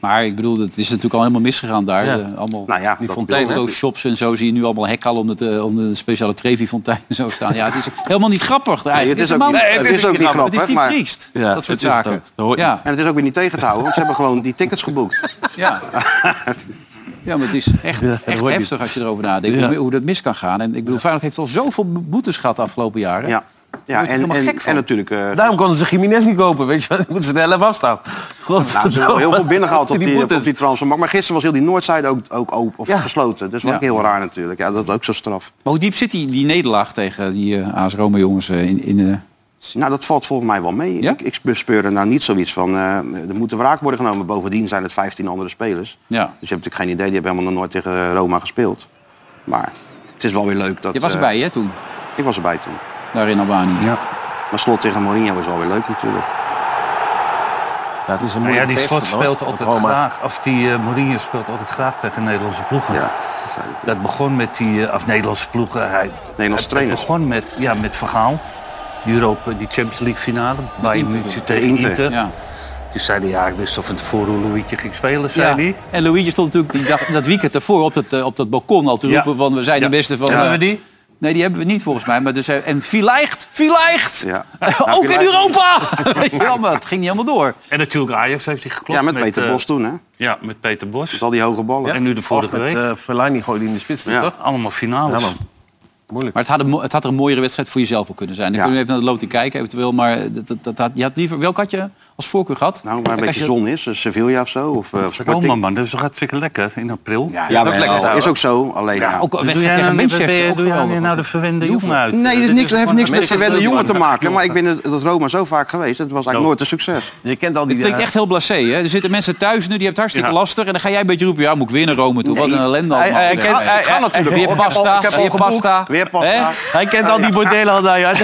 S2: Maar ik bedoel, het is natuurlijk al helemaal misgegaan daar. Eh, allemaal
S4: Nou ja,
S2: die
S4: dat
S2: fontein,
S4: bedoel ik.
S2: shops en zo zie je nu allemaal hekken om, het, eh, om de speciale Trevi-fontein en zo staan. Ja, het is helemaal niet grappig. Eigenlijk.
S4: het is ook
S2: helemaal-
S4: niet- Nee, het is ook niet grappig,
S2: Het is
S4: maar-
S2: triest,
S7: Ja,
S2: dat soort
S7: het is het
S2: zaken.
S7: ook. Dat hoor je.
S2: Ja,
S4: En het is ook weer niet tegen te houden, want ze hebben gewoon die tickets geboekt.
S2: ja. ja, maar het is echt,
S7: dat
S2: echt
S7: hoor je.
S2: heftig als je erover nadenkt hoe, hoe dat mis kan gaan. En ik bedoel, Feyenoord heeft al zoveel boetes gehad de afgelopen jaren.
S4: Ja, ja
S2: je
S4: en,
S2: helemaal
S4: en,
S2: gek van.
S4: en natuurlijk... eh,
S5: Daarom konden ze Jiménez niet kopen, weet je wel. Dan moeten ze er 11 afstaan. God,
S4: nou, ze hebben heel veel binnengehaald op die, op
S5: boetes.
S4: die transfermarkt. Maar gisteren was heel die Noordzijde ook, ook open, of
S5: Ja.
S4: gesloten. Dus dat was
S2: Ja.
S4: ook heel raar natuurlijk. Ja, dat was ook zo straf.
S2: Maar hoe diep zit die, die nederlaag tegen die eh, AS Roma jongens eh, in... in eh,
S4: Nou, dat valt volgens mij wel mee.
S2: Ja?
S4: Ik, ik bespeur er nou niet zoiets van... eh, er moet een wraak worden genomen. Bovendien zijn het 15 andere spelers.
S2: ja.
S4: Dus je hebt natuurlijk geen idee. Die hebben helemaal nog nooit tegen eh, Roma gespeeld. Maar het is wel weer leuk dat...
S2: Je was
S4: eh,
S2: erbij, hè, toen?
S4: ik was erbij toen.
S2: Daar in Albanië.
S4: Maar slot tegen Mourinho is wel weer leuk natuurlijk.
S5: Dat is een
S3: ja,
S5: moeilijke
S3: die
S5: test,
S3: slot
S5: hoor.
S3: speelt
S5: Want
S3: altijd
S5: Roma-
S3: graag. Of die eh Mourinho speelt altijd graag tegen Nederlandse ploegen.
S4: Ja.
S3: Dat begon met die, eh, of Nederlandse ploegen. Hij,
S4: Nederlandse
S3: het- het
S4: trainers.
S3: begon met, ja, met Vergaal. Die Europa, die Champions League finale. Bij München tegen
S4: Inter.
S3: Inter.
S2: Ja.
S3: Toen zei hij, ja, ik wist al van tevoren hoe Louietje ging spelen, zei
S2: Ja.
S3: hij.
S2: En Luigi stond natuurlijk die dag, dat weekend ervoor op dat, eh, op dat balkon al te
S3: Ja.
S2: roepen van we zijn
S3: Ja.
S2: de beste van...
S3: Hebben
S2: eh,
S3: we die?
S2: Nee, die hebben we niet volgens mij. Maar dus, eh, en vielleicht, vielleicht!
S4: Ja.
S2: Ook in
S4: vielleicht-
S2: Europa! Weet je wel, maar het ging niet helemaal door.
S3: En natuurlijk Ajax heeft hij geklopt.
S4: Ja, met Peter
S3: eh,
S4: Bos toen, hè?
S3: Ja, met Peter Bos.
S4: Met al die hoge ballen.
S3: En nu de vorige
S5: Met,
S3: week.
S5: eh, Fellaini gooide die in de spits,
S4: Ja.
S5: toch?
S3: Allemaal finales.
S5: Ja, man. Moeilijk.
S2: Maar het had, een, mo- het had er een mooiere wedstrijd voor jezelf al kunnen zijn. Dan
S4: Ja.
S2: kunnen we even naar de loting kijken eventueel. Maar dat, dat, dat, had- je had liever, welk had je als voorkeur gehad?
S4: Nou, waar een
S2: Kijk, als
S4: beetje
S2: je-
S4: zon is. eh, Sevilla of zo. Of, eh, of Sporting.
S3: Roma, man, dat is toch hartstikke lekker in april. Ja,
S4: Ja, wel, is ook zo. Alleen, ja.
S2: Ook een
S3: Doe jij
S2: wedstrijd tegen
S3: nou, niet- ben
S2: Manchester.
S3: je-
S2: ook
S3: doe jij
S2: geweldig
S3: nou,
S2: was
S3: de
S2: het.
S3: verwende
S2: Die hoeven-
S3: jongen uit?
S4: Nee, dat, is niks, dat heeft niks met
S5: Amerika is
S4: Sevilla
S5: wel
S4: jongen te
S5: belangrijk.
S4: maken. Maar ik vind het- dat Roma zo vaak geweest. Het was eigenlijk nooit een succes.
S5: Je kent al die...
S2: Het
S3: eh,
S2: klinkt echt heel blasé. Hè? Er zitten mensen thuis nu, die hebben het hartstikke
S3: Ja.
S2: lastig. En dan ga jij een beetje roepen, ja, moet ik weer naar Rome toe. Wat een ellende
S5: Hij-
S2: allemaal.
S5: hij
S2: Ja.
S5: kent-
S2: Ja.
S5: hij- hij-
S2: Weer
S4: Ik heb al-
S2: pasta,
S4: ik heb al
S2: weer
S4: geboekt.
S2: pasta.
S4: Weer pasta.
S5: Hij kent al die bordelen al daar, ja.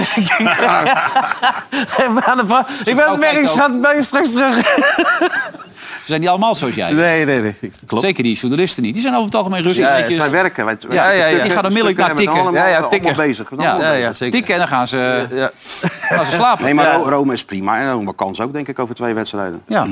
S5: Ik ben
S2: vrouw
S5: het werk,
S2: kijkt
S5: schat. Ben je straks terug?
S2: Ze Zijn die allemaal zoals jij?
S5: Nee, nee, nee. Klopt.
S2: Zeker die journalisten niet. Die zijn over het algemeen rustig.
S4: Ja,
S2: netjes.
S4: zij werken. Wij, wij-
S5: Ja, ja, ja.
S4: stukken-
S5: Je
S2: gaat onmiddellijk naar
S4: stukken hebben
S2: tikken.
S5: Ja,
S4: we
S5: ja,
S4: allemaal-
S5: tikken.
S4: allemaal bezig. We zijn
S2: Ja.
S4: allemaal
S5: Ja,
S4: bezig.
S5: ja, zeker.
S2: Tikken en dan gaan ze,
S5: Ja.
S2: gaan ze slapen.
S4: Nee, maar
S5: Ja.
S4: Ro- Rome is prima. En Roma kan ze ook, denk ik, over twee wedstrijden.
S2: Ja.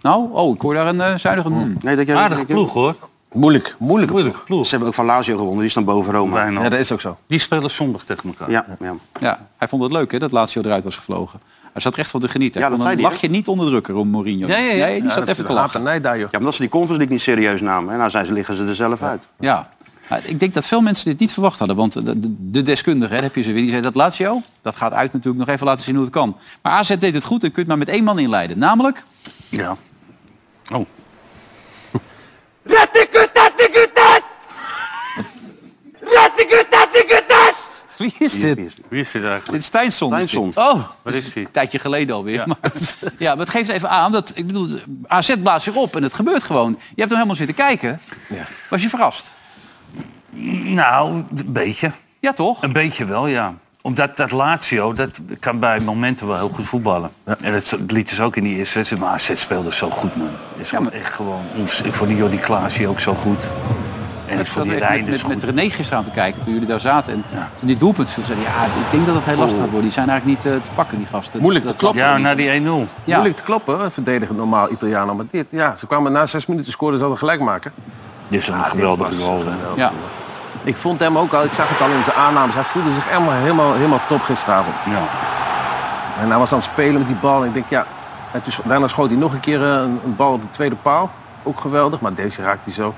S2: Nou, oh, ik hoor daar een eh, zuinige... mm.
S4: Nee, dat jij-
S3: Aardige
S4: dat jij-
S3: ploeg, hoor.
S5: Moeilijk, moeilijk.
S3: Moeilijke ploeg.
S4: Ze hebben ook van Lazio gewonnen. Die staan boven Roma.
S5: Ja,
S3: Bijna.
S5: dat is ook zo.
S3: Die spelen zondag tegen elkaar.
S4: nou. Ja, ja.
S2: Ja, hij vond het leuk hè, dat Lazio eruit was gevlogen. Hij zat er echt van te genieten.
S4: Ja,
S2: Hij
S4: dat
S2: kon
S4: zei
S2: een
S4: hij,
S2: lachje niet onderdrukken om Mourinho.
S5: Ja, ja, ja.
S2: Nee, die zat even te lachen.
S5: Nee, daar, joh.
S4: Ja, omdat ze die Conference League niet serieus namen. hè. Nou zijn ze, liggen ze er zelf uit.
S2: Ja. Maar Ik denk dat veel mensen dit niet verwacht hadden. Want de, de- de deskundige, hè, daar heb je ze weer, die zei dat Lazio, dat gaat uit natuurlijk nog even laten zien hoe het kan. Maar AZ deed het goed en je kunt maar met één man inleiden. Namelijk,
S3: Ja. Oh.
S2: wie is dit?
S4: Hier is die.
S3: Wie is dit eigenlijk?
S2: Dit is Stijnsson.
S4: Stijnsson.
S2: is dit. Oh,
S3: Wat is die?
S2: een tijdje geleden alweer. Ja. Maar, ja, maar het geeft even aan dat, ik bedoel, AZ blaast zich op en het gebeurt gewoon. Je hebt hem helemaal zitten kijken. Was je verrast?
S3: Nou, een beetje.
S2: Ja, toch?
S3: Een beetje wel, ja. Omdat dat Lazio, dat kan bij momenten wel heel goed voetballen. En dat liet ze ook in die eerste wedstrijd. Maar AZ speelde zo goed, man. Is echt gewoon, ons- ik vond die Jordi Klaasje ook zo goed. En ik
S2: Ik zat
S3: vond die
S2: even met,
S3: Reinders
S2: met,
S3: goed.
S2: met René gisteren aan te kijken toen jullie daar zaten. En toen dit doelpunt viel, zei hij, ja, ik denk dat het heel lastig gaat worden. Die zijn eigenlijk niet eh, te pakken, die gasten.
S5: Moeilijk,
S2: dat
S5: dat klopt.
S3: ja, nou, na die 1-0.
S2: Ja.
S5: Moeilijk te kloppen, hè, verdedigen normaal Italianen. Maar dit, ja, ze kwamen na zes minuten scoren, ze hadden gelijk maken.
S3: Dit is een geweldige goal, hè.
S2: Ja.
S5: Ik vond hem ook al, ik zag het al in zijn aannames. Hij voelde zich helemaal, helemaal, helemaal top gisteravond.
S3: Ja.
S5: En hij was aan het spelen met die bal. En ik denk, ja, en toen scho- daarna schoot hij nog een keer eh, een, een bal op de tweede paal. Ook geweldig, maar deze raakt hij zo.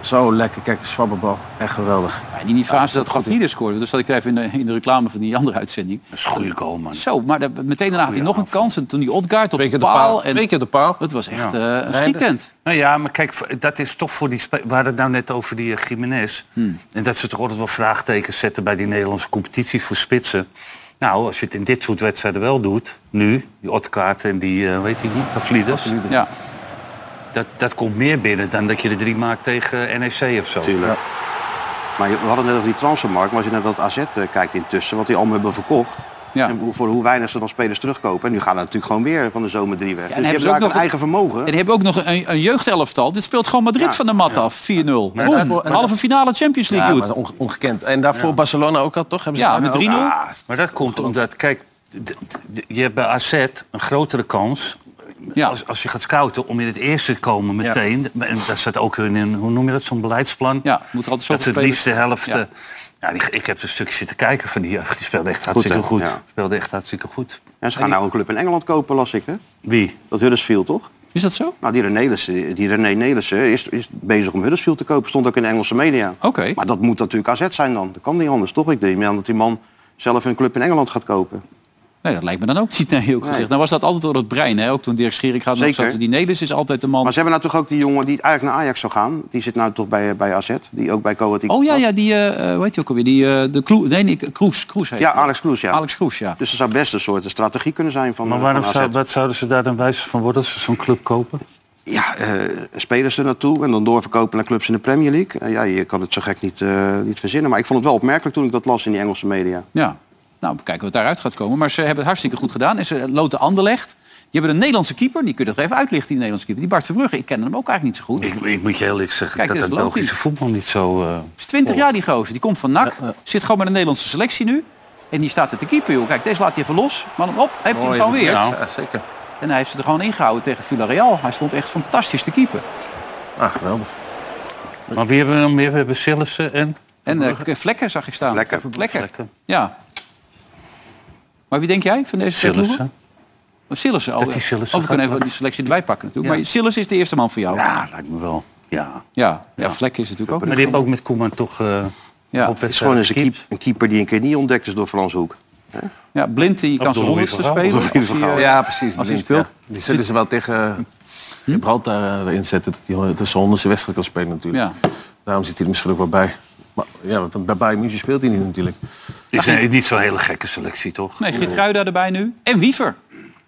S5: Zo lekker, kijk, een zwabberbal. Echt geweldig.
S2: Ja, die Nivas, dat gaf niet scoorde. Dus dat ik even in de, in de reclame van die andere uitzending.
S3: Dat is een goede goal, man.
S2: Zo, maar de- meteen daarna had hij nog een kans. En toen die Odgaard op
S5: Twee
S2: de
S5: keer de
S2: paal.
S5: paal.
S2: en
S5: Twee keer de paal.
S2: Dat was echt
S3: Ja.
S2: eh, een
S5: dat-
S2: schietent.
S3: Nou ja, maar kijk, voor- dat is toch voor die... spe- We hadden het nou net over die eh, Jiménez. En dat ze toch altijd wel vraagtekens zetten bij die Nederlandse competitie voor spitsen. Nou, als je het in dit soort wedstrijden wel doet, nu, die Otkaart en die, eh weet ik niet, Vlieders.
S2: Ja.
S3: Dat, dat komt meer binnen dan dat je de drie maakt tegen eh, NEC of zo.
S4: Tuurlijk. Maar je- we hadden het net over die transfermarkt. Maar als je naar dat AZ eh, kijkt intussen, wat die allemaal hebben verkocht.
S2: Ja.
S4: En hoe- voor hoe weinig ze dan spelers terugkopen. En nu gaan er natuurlijk gewoon weer van de zomer drie weg.
S2: Ja, en
S4: dus je
S2: hebben
S4: hebt
S2: ze ook
S4: eigenlijk
S2: nog
S4: een eigen vermogen.
S2: En die hebben ook nog een, een jeugdelftal. Dit speelt gewoon Madrid van de mat af. 4-0. Roem,
S5: daarvoor- en-
S2: halve finale Champions
S5: Ja,
S2: League.
S5: maar
S2: goed.
S5: dat is onge- ongekend. En daarvoor Barcelona ook al, toch? Hebben ze
S2: Ja,
S5: daar nou- Ah,
S2: met
S5: ook-
S2: 3-0.
S3: Maar dat komt omdat, kijk, d- d- d- je hebt bij AZ een grotere kans...
S2: Ja.
S3: Als, als je gaat scouten om in het eerste te komen meteen. En dat staat ook in, een- hoe noem je dat, zo'n beleidsplan.
S2: Ja, moet er altijd
S3: dat ze
S2: zoveel
S3: het liefst de helft...
S2: Ja.
S3: eh, Ja. die- ik heb een stukje zitten kijken van die jeugd. Die speelde echt hartstikke
S4: hè?
S3: goed.
S4: Ja.
S3: Speelde echt hartstikke goed.
S4: En ze gaan nou een club in Engeland kopen, las ik. Hè?
S3: Wie?
S4: Dat Huddersfield, toch?
S2: Is dat zo?
S4: Nou, die René Nelissen, die René Nelissen is, is bezig om Huddersfield te kopen. Stond ook in de Engelse media.
S2: Oké.
S4: Maar dat moet natuurlijk AZ zijn dan. Dat kan niet anders, toch? Ik denk aan dat die man zelf een club in Engeland gaat kopen.
S2: Nee, dat lijkt me dan ook niet. Nee, ook gezegd. Nou was dat altijd door het brein. Hè? Ook toen Dirk Schierik gaat.
S4: Zeker.
S2: Die Nelis is altijd de man.
S4: Maar ze hebben nou toch ook die jongen die eigenlijk naar Ajax zou gaan. Die zit nou toch bij, bij AZ, die ook bij Coat.
S2: Oh ja, ja die, eh eh, hoe heet die ook alweer? Die, eh, de Kloes. Nee, nee, Kroes. Kroes heet
S4: Ja,
S2: die.
S4: Alex Kloes, ja.
S2: Alex Kroes, ja.
S4: Dus er zou best een soort strategie kunnen zijn van,
S3: Maar
S4: eh,
S3: waarom
S4: van AZ.
S3: zou, wat zouden ze daar dan wijs van worden als ze zo'n club kopen?
S4: Ja, eh, spelers er naartoe en dan doorverkopen naar clubs in de Premier League. Eh, ja, je kan het zo gek niet, eh, niet verzinnen. Maar ik vond het wel opmerkelijk toen ik dat las in die Engelse media.
S2: Ja. Nou, we kijken wat daaruit gaat komen. Maar ze hebben het hartstikke goed gedaan. En ze loten Anderlecht. Die hebben een Nederlandse keeper. Die kun je toch even uitlichten, die Nederlandse keeper. Die Bart Verbrugge. Ik ken hem ook eigenlijk niet zo goed.
S3: Ik, ik moet je heel eerlijk zeggen
S2: Kijk,
S3: dat
S2: dit
S3: dat
S2: is logisch.
S3: Belgische voetbal niet zo... eh,
S2: is
S4: Oh.
S2: 20 jaar die gozer. Die komt van NAC. Zit gewoon bij de Nederlandse selectie nu. En die staat er te keeper, joh. Kijk, deze laat hij even los. Maar op, heb je hem
S5: Mooi,
S2: gewoon weer.
S5: ja,
S3: Nou.
S5: Ja, zeker.
S2: En hij heeft ze er gewoon ingehouden tegen Villarreal. Hij stond echt fantastisch te keeper.
S5: Ah, geweldig.
S3: Maar wie hebben we nog meer? We hebben Sillissen en...
S2: En eh, Vlekken zag ik staan.
S4: Vlekken.
S2: Vlekken.
S3: Vlekken.
S2: Ja. Maar wie denk jij van deze twee ploegen?
S3: Sillissen.
S2: Oh, Sillissen. Oh,
S3: Dat die Sillissen
S2: oh, we kunnen
S3: gaat
S2: even die selectie erbij pakken natuurlijk. Maar Sillissen is de eerste man voor jou. Ja,
S3: Ja, lijkt me wel. Ja.
S2: ja. Vlekken is natuurlijk ook.
S3: Maar die hebben ook met Koeman toch eh
S2: Ja.
S3: op
S4: Het is gewoon
S3: wedstrijd
S4: eens een,
S3: gekiept.
S4: keep- een keeper die een keer niet ontdekt is door Frans Hoek.
S2: Ja, blind die kan
S3: door
S2: zijn
S3: Louis
S2: honderdste
S3: van Gaal.
S2: spelen.
S4: Of Louis van
S2: Of die,
S4: Gaal.
S2: eh,
S5: Ja, precies.
S2: Als hij
S5: blind,
S2: speelt.
S5: ja. Die zullen ze wel tegen eh,
S2: Hm?
S5: Gibraltar eh, erin zetten. Dat hij de zijn honderdste wedstrijd kan spelen natuurlijk.
S2: Ja.
S5: Daarom zit hij er misschien ook wel bij. Maar ja, want bij Bayern München speelt hij niet natuurlijk.
S3: Is een, niet zo'n hele gekke selectie, toch?
S2: Nee, Gitruida erbij nu. En Wiever.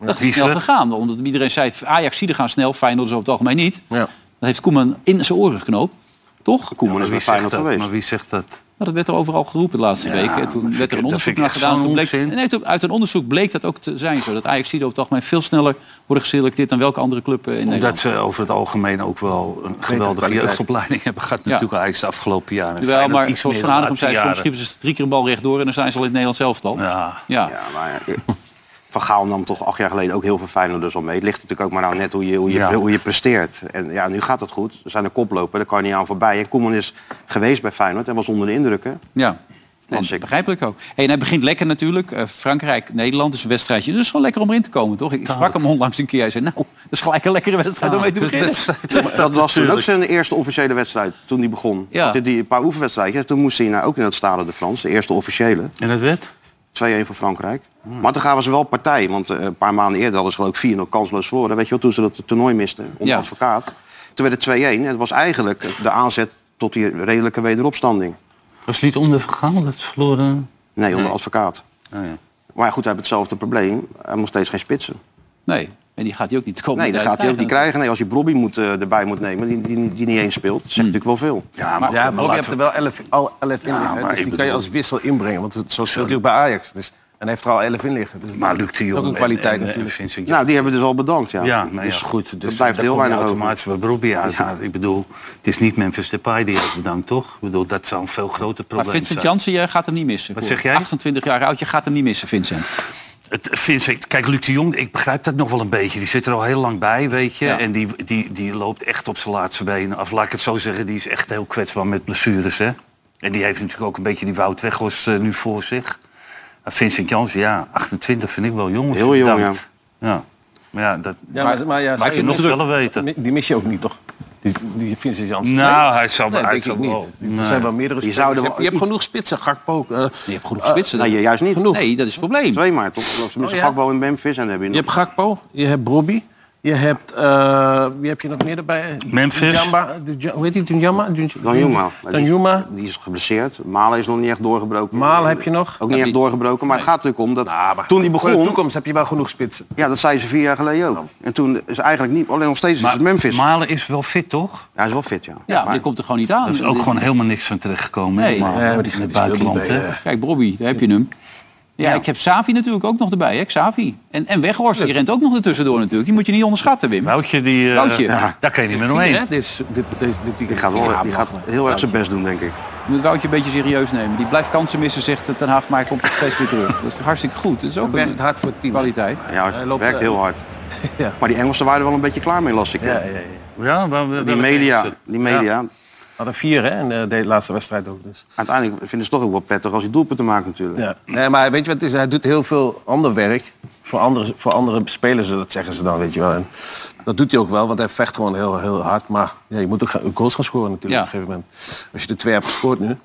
S2: Dat is snel
S3: Wiever.
S2: gegaan. Omdat iedereen zei, ajax zieden gaan snel. Feyenoord is over het algemeen niet.
S5: Ja.
S2: Dat heeft Koeman in zijn oren geknoopt. Toch? Nou,
S4: Koeman
S3: Maar
S4: is bij
S3: wie zegt
S4: Feyenoord
S3: dat?
S4: geweest.
S3: Maar wie zegt dat?
S2: dat werd er overal geroepen de laatste weken. En toen werd er een
S3: ik- dat
S2: onderzoek
S3: vind ik
S2: naar
S3: echt
S2: gedaan.
S3: zo'n
S2: Toen bleek,
S3: onzin.
S2: nee, toen- uit een onderzoek bleek dat ook te zijn zo. Dat ajax zieden over het algemeen veel sneller worden geselecteerd... dan welke andere club eh, in
S3: Omdat
S2: Nederland.
S3: ze over het algemeen ook wel een geweldige
S5: kwaliteit.
S3: jeugdopleiding hebben gehad. Natuurlijk eigenlijk de afgelopen jaren. En
S2: Terwijl,
S3: Feyenoord
S2: maar
S3: iets
S2: zoals
S3: meer
S2: Van
S3: de
S2: Hanegem zei,
S3: laatste
S2: soms
S3: jaren.
S2: schiepen ze drie keer een bal rechtdoor... en dan zijn ze al in het Nederlands elftal.
S3: Ja.
S2: Ja.
S4: Ja, maar eh, Van Gaal nam toch acht jaar geleden ook heel veel Feyenoorders al mee. Het ligt natuurlijk ook maar aan net hoe je, hoe je,
S3: Ja.
S4: hoe je presteert. En ja, nu gaat het goed. We zijn een koploper, daar kan je niet aan voorbij. En Koeman is geweest bij Feyenoord en was onder de indrukken.
S2: Ja. En
S4: Las ik.
S2: begrijpelijk ook. Hey, en hij begint lekker natuurlijk. Eh, Frankrijk, Nederland is een wedstrijdje. Dus wel lekker om erin te komen, toch? Ik sprak hem onlangs een keer. Hij zei, nou, dat is gelijk een lekkere wedstrijd om mee te beginnen.
S4: Dat was toen ook zijn eerste officiële wedstrijd, toen hij begon.
S2: Ja.
S4: Had hij die een paar oefenwedstrijdjes. Toen moest hij nou ook in het Stade de France, de eerste officiële.
S3: En dat werd?
S4: 2-1 voor Frankrijk. Maar toen gaven ze wel partij. Want eh, een paar maanden eerder hadden ze geloof ik 4-0 kansloos verloren. Weet je wel, toen ze dat toernooi misten onder
S2: Ja.
S4: advocaat. Toen werd het 2-1. En het was eigenlijk de aanzet tot die redelijke wederopstanding.
S3: Was het niet onder vergaan dat ze verloren?
S4: Nee, onder advocaat.
S3: Oh, ja.
S4: Maar ja, goed, hij heeft hetzelfde probleem. Hij moet steeds geen spitsen.
S2: Nee, en die gaat hij ook niet komen.
S4: Nee, dan gaat hij ook niet krijgen. Nee, als je Bobby moet, eh, erbij moet nemen, die, die, die niet eens speelt, dat zegt natuurlijk wel veel.
S3: Hm. ja, maar,
S5: Ja, maar je hebt
S3: laten
S5: er
S3: we-
S5: wel 11 al 11 in liggen. hè.
S3: maar
S5: dus die
S3: ik
S5: kan je
S3: bedoel-
S5: als wissel inbrengen. Want het, zo speelt hij ook bij Ajax. Dus, en hij heeft er al 11 in liggen. Dus
S3: maar Luc de Jong
S5: Ook een
S3: en-
S5: kwaliteit
S3: en, eh,
S5: natuurlijk.
S3: Vincent
S4: Nou, die hebben dus al bedankt, ja.
S3: Ja, nou ja,
S4: Dus
S3: goed. Dus
S4: er blijft
S3: daar
S4: heel
S3: kom je
S4: weinig over.
S3: automatisch bij Brobbey uit. Maar ik bedoel, het is niet Memphis Depay die heeft bedankt, toch? Ik bedoel, dat zou een veel groter
S2: Maar
S3: probleem
S2: Vincent
S3: zijn.
S2: Jansen, je gaat hem niet missen.
S3: Wat
S2: Hoor.
S3: zeg jij?
S2: 28 jaar oud, je gaat hem niet missen, Vincent.
S3: Het, Vincent, kijk, Luc de Jong, ik begrijp dat nog wel een beetje. Die zit er al heel lang bij, weet je.
S2: Ja.
S3: En die, die, die loopt echt op zijn laatste benen af. Laat ik het zo zeggen, die is echt heel kwetsbaar met blessures, hè. En die heeft natuurlijk ook een beetje die Wout Weghorst eh, nu voor zich. En Vincent Janssen, ja, 28 vind ik wel jong.
S4: Heel jong,
S3: verdacht. ja. Maar ja, dat...
S5: Ja, maar, maar ja,
S3: Maar ik
S5: zou je
S3: vind het
S5: missen-
S3: nog wel weten.
S5: Mi- Die mis je ook niet, toch? Die, die Vincent Janssen.
S3: Nou, hij zal...
S5: Nee,
S3: hij
S5: denk ik
S3: zal
S5: niet.
S3: wel-
S5: Er
S3: Nee.
S5: zijn wel meerdere
S4: Je
S5: spelers.
S4: zou er
S5: je,
S4: wel-
S5: hebt, je hebt genoeg spitsen, Gakpo. eh,
S2: Je hebt genoeg
S5: eh,
S2: spitsen.
S3: dus-
S4: nou, juist niet.
S5: genoeg.
S2: Nee, dat is het probleem.
S4: Twee maar, toch? Of tenminste,
S5: Oh, ja.
S4: Gakpo en Memphis. En dan heb je
S5: je hebt
S4: nog...
S5: Gakpo, je hebt Brobbey. Je hebt, eh wie heb je nog meer erbij?
S3: Memphis.
S5: Dunjamba, Dunja- hoe heet die? Dunjama?
S4: Danjuma.
S5: Danjuma.
S4: Die is geblesseerd. Malen is nog niet echt doorgebroken.
S5: Malen heb je nog?
S4: Ook niet echt doorgebroken. Maar het gaat natuurlijk om dat toen die
S5: Voor de
S4: begon...
S5: toekomst heb je wel genoeg spitsen.
S4: Ja, dat zei ze vier jaar geleden ook. En toen is eigenlijk niet... Alleen nog steeds is
S3: Maar
S4: het Memphis.
S3: Malen is wel fit, toch?
S4: Hij is wel fit, ja.
S2: Ja, maar
S4: Maar-
S2: die komt er gewoon niet aan.
S3: Daar is ook gewoon helemaal niks van terechtgekomen.
S2: Nee,
S3: maar,
S5: eh, die
S3: in het
S5: speelt niet
S3: buitenland,
S5: bij,
S3: hè.
S5: eh,
S2: Kijk, Bobby, daar heb je hem. Ja, ik heb Savi natuurlijk ook nog erbij, hè? Xavi. En, en Weghorst, die rent ook nog ertussendoor natuurlijk. Die moet je niet onderschatten, Wim.
S3: Woutje, die, eh,
S2: Woutje.
S3: daar kan je niet meer omheen.
S5: Hè, Dit, is- dit, deze- dit weekend.
S4: Die gaat, wel, die gaat heel erg zijn best doen, denk ik.
S2: Je moet Woutje een beetje serieus nemen. Die blijft kansen missen, zegt Ten Haag, maar hij komt steeds weer terug. Dat is toch hartstikke goed. Dat is ook
S5: Werkt
S2: een
S5: hard voor het team.
S2: kwaliteit.
S4: Ja,
S5: Hij
S4: het
S5: loopt,
S4: werkt
S5: eh,
S4: heel hard.
S5: ja.
S4: Maar die Engelsen waren er wel een beetje klaar mee, las ik. hè?
S5: Ja, ja, ja.
S3: Ja, waar- waar-
S4: Die
S3: waar-
S4: media, die media.
S5: Hadden vier, hè? En eh, de laatste wedstrijd ook dus.
S4: Uiteindelijk vinden ze het toch ook wel prettig als hij doelpunten maakt natuurlijk.
S5: Ja. Nee, maar weet je wat het is? Hij doet heel veel ander werk. Voor andere, voor andere spelers, dat zeggen ze dan, weet je wel. En dat doet hij ook wel, want hij vecht gewoon heel, heel hard. Maar ja, je moet ook gaan- goals gaan scoren natuurlijk
S2: Ja.
S5: op een gegeven moment. Als je de twee hebt gescoord nu.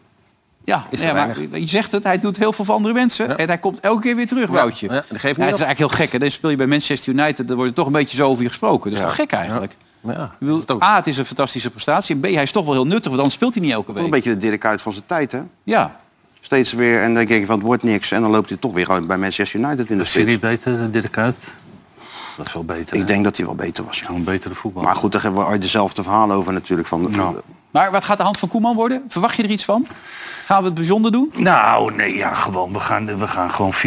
S2: Ja,
S5: Is
S2: ja
S5: er
S2: maar je zegt het, hij doet heel veel voor andere mensen. En hij komt elke keer weer terug, Woutje.
S5: ja, dat geeft niet
S2: Ja, het is
S5: op.
S2: eigenlijk heel gek. Hè? Dan speel je bij Manchester United, dan wordt er toch een beetje zo over je gesproken. Dat is toch gek eigenlijk?
S5: Ja.
S2: Ik bedoel, A, het is een fantastische prestatie. En B, hij is toch wel heel nuttig, want anders speelt hij niet elke
S4: Toch een
S2: week.
S4: beetje de Dirk uit van zijn tijd, hè?
S2: Ja,
S4: Steeds weer, en dan denk je van het wordt niks. En dan loopt hij toch weer gewoon bij Manchester United in de
S3: Is hij
S4: spits.
S3: niet beter, eh, Dirk Kuyt? Dat is wel beter. hè?
S4: Ik denk dat hij wel beter was, ja.
S3: Gewoon een betere voetbal.
S4: Maar goed, daar hebben we ooit dezelfde verhaal over natuurlijk. Van,
S3: Nou.
S2: maar wat gaat de hand van Koeman worden? Verwacht je er iets van? Gaan we het bijzonder doen?
S3: Nou, nee, ja, gewoon. We gaan, we gaan gewoon 4-3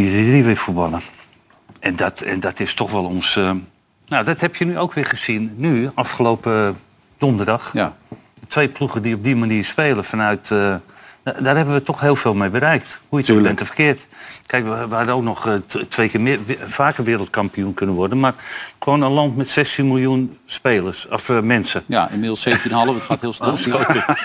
S3: weer voetballen. En dat, en dat is toch wel ons... eh, nou, dat heb je nu ook weer gezien. Nu, afgelopen donderdag.
S2: Ja.
S3: Twee ploegen die op die manier spelen vanuit... eh, da- daar hebben we toch heel veel mee bereikt. Hoe je het ook
S4: Tuurlijk.
S3: bent of verkeerd. Kijk, we, we hadden ook nog eh, t- twee keer meer, we- vaker wereldkampioen kunnen worden. Maar gewoon een land met 16 miljoen spelers, of eh, mensen.
S2: Ja, inmiddels 17,5. Het gaat heel
S5: Oh,
S2: snel.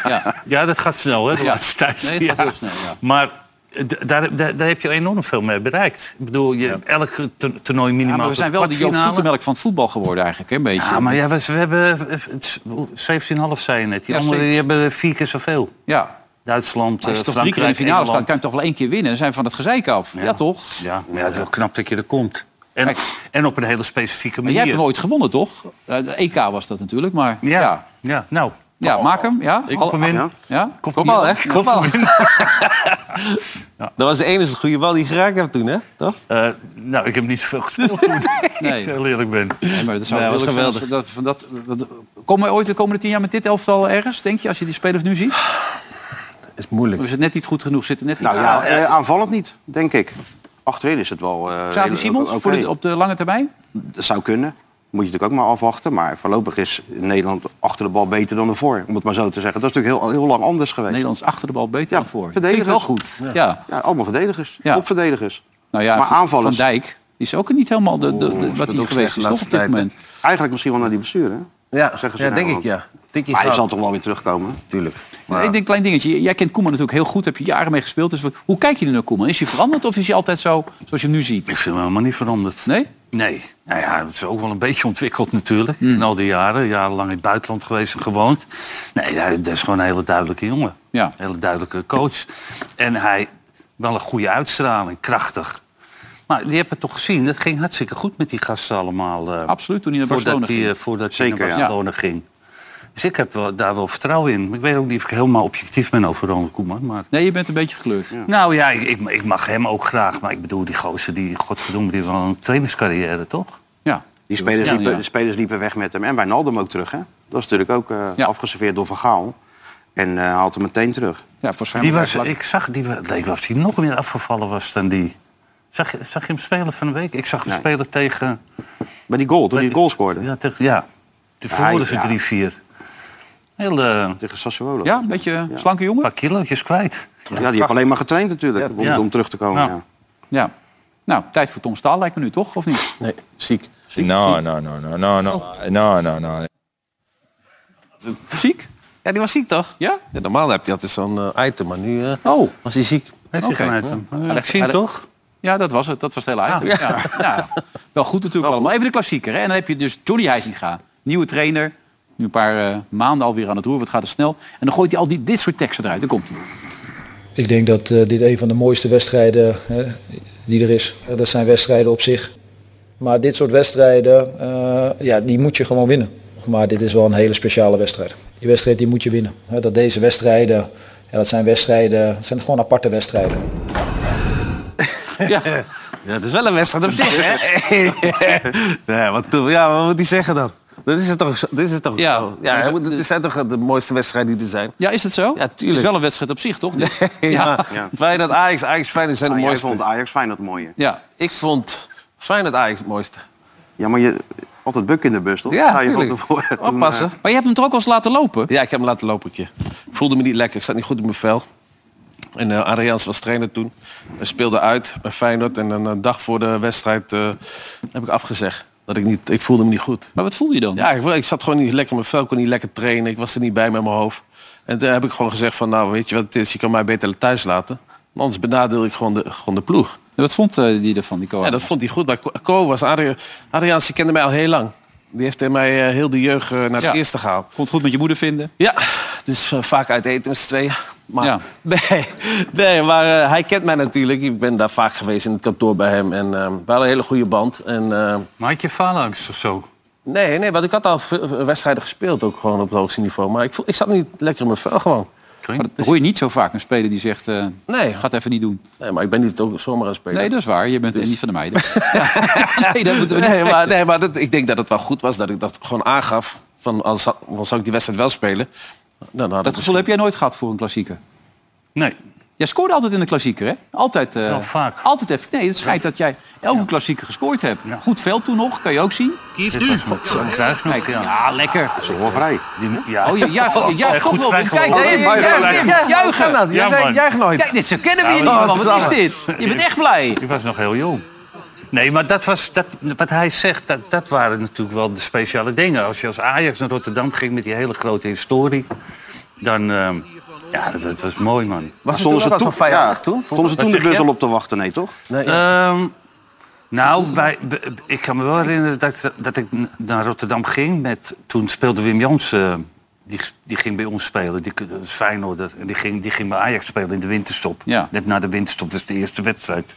S2: Ja.
S3: Ja, dat gaat snel, hè, de
S2: Ja.
S3: laatste tijd.
S2: Nee, het gaat
S3: Ja.
S2: heel snel, ja.
S3: Maar eh, d- daar, daar, daar heb je enorm veel mee bereikt. Ik bedoel, je, elk to- toernooi minimaal
S2: Ja, maar we
S3: tot
S2: zijn wel de Joop
S3: kwartfinale.
S2: Zoetemelk van het voetbal geworden eigenlijk, hè, een beetje.
S3: Ja, maar ja, we, we hebben eh, het- 17,5 zei je net. Die
S2: Ja,
S3: anderen die
S2: zeker.
S3: hebben vier keer zoveel.
S2: Ja.
S3: Duitsland,
S2: Maar als
S3: eh
S2: je toch drie keer in de
S3: Frankrijk,
S2: finale staat, kan
S3: Engeland.
S2: je toch wel één keer winnen. Dan zijn we van het gezeik af. Ja, toch?
S3: Ja, maar ja, het is wel knap dat je er komt. En,
S2: Kijk.
S3: en op een hele specifieke
S2: Maar
S3: manier.
S2: jij hebt hem ooit gewonnen, toch? Eh, de EK was dat natuurlijk, maar ja.
S3: ja.
S2: Ja,
S3: Ja. nou.
S2: maak hem. Ja? Oh,
S3: Ik kom hem in.
S4: Ja.
S2: Ja?
S3: Kom maar, hè?
S2: Kom maar.
S5: Dat was de enige goede bal die geraakt heeft toen, hè? Toch?
S3: Eh, nou, ik heb niet veel gespeeld toen
S2: Nee,
S3: ik heel eerlijk ben.
S2: nee, maar dat zou
S5: Nee, was
S2: wel
S5: geweldig.
S2: geweldig. Dat, van dat, dat, komen we ooit de komende tien jaar met dit elftal ergens, denk je, als je die spelers nu ziet? Of
S5: Dat is moeilijk.
S2: is het net niet goed genoeg? Zit er net niet
S4: nou ja, eh, aanvallend niet, denk ik. Achterin is het wel... eh,
S2: Xavi
S4: heel-
S2: Simons
S4: oké.
S2: voor de, op de lange termijn?
S4: Dat zou kunnen. Moet je natuurlijk ook maar afwachten. Maar voorlopig is Nederland achter de bal beter dan ervoor. Om het maar zo te zeggen. Dat is natuurlijk heel, heel lang anders geweest.
S2: Nederlands achter de bal beter
S4: Ja,
S2: dan voor.
S4: verdedigers.
S2: Klinkt wel goed. Ja.
S4: Ja, allemaal verdedigers.
S2: Ja.
S4: Topverdedigers.
S2: Nou ja,
S4: Maar
S2: Van-
S4: aanvallers-
S2: Van Dijk is ook niet helemaal de, de, de- wat hij
S5: ook
S2: geweest
S5: slecht
S2: is,
S5: de
S2: toch,
S5: laatste
S2: op dit
S5: tijd, hè?
S2: moment.
S4: Eigenlijk misschien wel naar die blessure. hè?
S5: Ja,
S4: zeggen ze
S5: ja
S4: nou
S5: denk
S4: wel.
S5: ik, ja. Tikkie
S4: Maar hij
S5: fout.
S4: zal toch wel weer terugkomen.
S5: Tuurlijk.
S2: Maar Ik denk een klein dingetje. Jij kent Koeman natuurlijk heel goed. Heb je jaren mee gespeeld. Dus wat- hoe kijk je er naar Koeman? Is hij veranderd of is hij altijd zo zoals je hem nu ziet?
S3: Ik vind hem helemaal niet veranderd.
S2: Nee?
S3: Nee, nou ja, het is ook wel een beetje ontwikkeld natuurlijk.
S2: Hmm.
S3: In al die jaren, jarenlang in het buitenland geweest en gewoond. Nee, hij, dat is gewoon een hele duidelijke jongen.
S2: Ja.
S3: Een hele duidelijke coach. En hij, wel een goede uitstraling, krachtig. Maar die hebben het toch gezien, dat ging hartstikke goed met die gasten allemaal. eh,
S2: Absoluut, toen hij naar
S3: voordat
S2: Barcelona
S3: hij,
S2: ging.
S3: eh, voordat
S4: Zeker,
S3: hij
S4: ja.
S3: naar Barcelona ging. Dus ik heb wel, daar wel vertrouwen in. Ik weet ook niet of ik helemaal objectief ben over Ronald Koeman. Maar...
S2: Nee, je bent een beetje gekleurd.
S3: Nou ja, ik, ik, ik mag hem ook graag. Maar ik bedoel, die gozer, die, godverdomme, die heeft wel een trainerscarrière, toch?
S2: Ja.
S4: Die spelers,
S2: Ja,
S4: liepen,
S2: ja.
S4: de spelers liepen weg met hem. En Wijnaldum ook terug. Hè? Dat is natuurlijk ook eh,
S2: Ja.
S4: afgeserveerd door Van Gaal. En eh, haalt hem meteen terug.
S2: Ja, volgens mij
S3: Die
S2: moet
S3: was,
S2: hij
S3: ik zag, die, wa- leek wel of hij nog meer afgevallen was dan die. Zag, je- zag je hem spelen van de week? Ik zag hem
S4: Nee.
S3: spelen tegen...
S4: Bij die goal, toen hij de goal scoorde.
S3: Ja, tegen, ja. Toen
S4: Ja,
S3: verloren ze
S4: ja.
S3: 3-4. Heel eh,
S4: Tegen Sassuolo.
S2: Ja, een beetje eh, slanke jongen.
S3: paar kilootjes kwijt.
S4: Ja, die heeft alleen maar getraind natuurlijk. om,
S3: ja.
S4: om terug te komen.
S3: Nou.
S4: Ja.
S2: Ja. Nou, tijd voor Tom Staal lijkt me nu toch, of niet?
S5: Nee, ziek.
S8: No, no, no, no, no, no, no, no, no.
S2: Ziek?
S5: Ja, die was ziek toch?
S2: Ja?
S5: Ja, normaal heb je altijd zo'n eh, item, maar nu eh,
S2: Oh,
S5: was hij ziek.
S3: Heeft hij
S2: Oké.
S3: geen item?
S2: Ja,
S7: Gezien
S2: ja, dat-
S7: toch?
S2: Ja, dat was het. Dat was het hele item. Ja. Ja. Wel goed natuurlijk allemaal. Even de klassieker. Hè? En dan heb je dus Johnny Heitinga. Nieuwe trainer. Nu een paar eh, maanden alweer aan het roer. Wat gaat er snel? En dan gooit hij al die, dit soort teksten eruit. Dan komt hij.
S8: Ik denk dat eh, dit een van de mooiste wedstrijden hè, die er is. Eh, Dat zijn wedstrijden op zich. Maar dit soort wedstrijden, eh, ja, die moet je gewoon winnen. Maar dit is wel een hele speciale wedstrijd. Die wedstrijd die moet je winnen. Hè, dat deze wedstrijden, ja, dat zijn wedstrijden, dat zijn gewoon aparte wedstrijden.
S2: Ja.
S5: Ja, dat is wel een wedstrijd op zich, hè? ja, wat, toe- ja, wat moet hij zeggen dan? Dat is het toch? zo- Dat is het toch?
S2: Ja.
S5: zo? ja hij moet- dit zijn toch de mooiste wedstrijden die er zijn?
S2: ja, is het zo?
S5: Ja, tuurlijk.
S2: Het is wel een wedstrijd op zich, toch? Ja.
S5: Ja.
S4: Ja.
S5: Feyenoord, Ajax, Ajax, Feyenoord zijn de
S4: Ah, jij
S5: mooiste.
S4: vond Ajax fijn dat mooie.
S2: ja.
S5: Ik vond Feyenoord, Ajax het mooiste.
S4: Ja, maar je altijd buk in de bus, toch?
S5: Ja,
S4: Ga Ah, je van
S5: tuurlijk.
S4: tevoren toen, eh,
S5: Oppassen.
S2: Maar je hebt hem toch ook al eens laten lopen?
S5: Ja, ik heb hem laten lopen een keer. Ik voelde me niet lekker. Ik zat niet goed in mijn vel. En eh Arians was trainer toen. Hij speelde uit bij Feyenoord. En dan een dag voor de wedstrijd eh, heb ik afgezegd. Dat ik, niet, ik voelde me niet goed.
S2: Maar wat voel je dan?
S5: Ja, ik, ik zat gewoon niet lekker in mijn vel. Ik kon niet lekker trainen. Ik was er niet bij met mijn hoofd. En toen heb ik gewoon gezegd van... Nou, weet je wat het is? Je kan mij beter thuis laten. Want Anders benadeel ik gewoon de, gewoon de ploeg.
S2: En wat vond eh, die ervan, die coach?
S5: Ja, dat vond hij goed. Maar Co- Co was... Adria- Adriaans, die kende mij al heel lang. Die heeft mij eh, heel de jeugd eh, naar het
S2: Ja.
S5: eerste gehaald.
S2: Kon het goed met je moeder vinden?
S5: Ja, dus eh, vaak uit eten met z'n tweeën. Maar,
S2: Ja.
S5: nee, nee, maar eh, hij kent mij natuurlijk. Ik ben daar vaak geweest in het kantoor bij hem. En eh, we hadden een hele goede band. En, eh,
S3: Maar had je phalanx of zo?
S5: nee, nee, want ik had al veel eh, wedstrijden gespeeld ook gewoon op het hoogste niveau. Maar ik, voel, ik zat niet lekker in mijn vel gewoon.
S2: Maar dat hoor je niet zo vaak. Een speler die zegt, eh
S5: Nee,
S2: gaat even niet doen.
S5: nee, maar ik ben niet ook zomaar een speler.
S2: Nee, dat is waar. Je bent niet van de meiden. Ja. Nee, dat moeten we niet
S5: Dus- nee, maar, nee, maar dat, ik denk dat het wel goed was dat ik dat gewoon aangaf. Van, als, als zou ik die wedstrijd wel spelen. Nou, Dan had
S2: Dat
S5: ik
S2: gevoel heb jij nooit gehad voor een klassieker.
S3: Nee.
S2: Jij scoorde altijd in de klassieker, hè? Altijd. eh,
S3: Wel vaak.
S2: Altijd even. Nee, het schijnt dat jij elke klassieker gescoord hebt.
S3: Ja.
S2: Goed veld toen nog, kan je ook zien.
S3: Dit was met zo'n kruis nog,
S2: Kijk, ja.
S3: ja.
S2: lekker.
S4: Dat is wel vrij.
S3: Die mo- ja.
S2: Oh, ja, ja, ja, ja,
S3: Eh,
S2: toch
S3: goed
S2: wel. Kijk,
S3: vrijgelopen.
S2: nee,
S3: Oh,
S2: nee,
S3: juichen,
S2: nee,
S3: juichen.
S2: nee, juichen.
S3: Ja, man.
S5: nooit.
S2: Kijk, dit, zo kennen we je niet,
S3: Ja,
S2: man. Wat is dit? Je bent echt blij.
S3: Die was nog heel jong. Nee, maar dat was, dat, wat hij zegt, dat, dat waren natuurlijk wel de speciale dingen. Als je als Ajax naar Rotterdam ging met die hele grote historie... dan, ehm, ja, dat, dat was mooi, man.
S5: Was het
S4: Stonden
S5: toen
S4: ze
S5: ook al zo
S4: toen,
S5: vijandig
S4: ja,
S5: toen?
S4: stonden ze toen de
S3: zeg
S4: bus
S3: je?
S4: al op te wachten, nee toch?
S3: Ehm, nou, bij, bij- ik kan me wel herinneren dat, ik- dat ik n- naar Rotterdam ging. Met, toen speelde Wim Jans, eh, die, die ging bij ons spelen. Die, dat is Feyenoorder. En die ging, die ging bij Ajax spelen in de winterstop.
S2: Ja.
S3: Net na de winterstop was de eerste wedstrijd.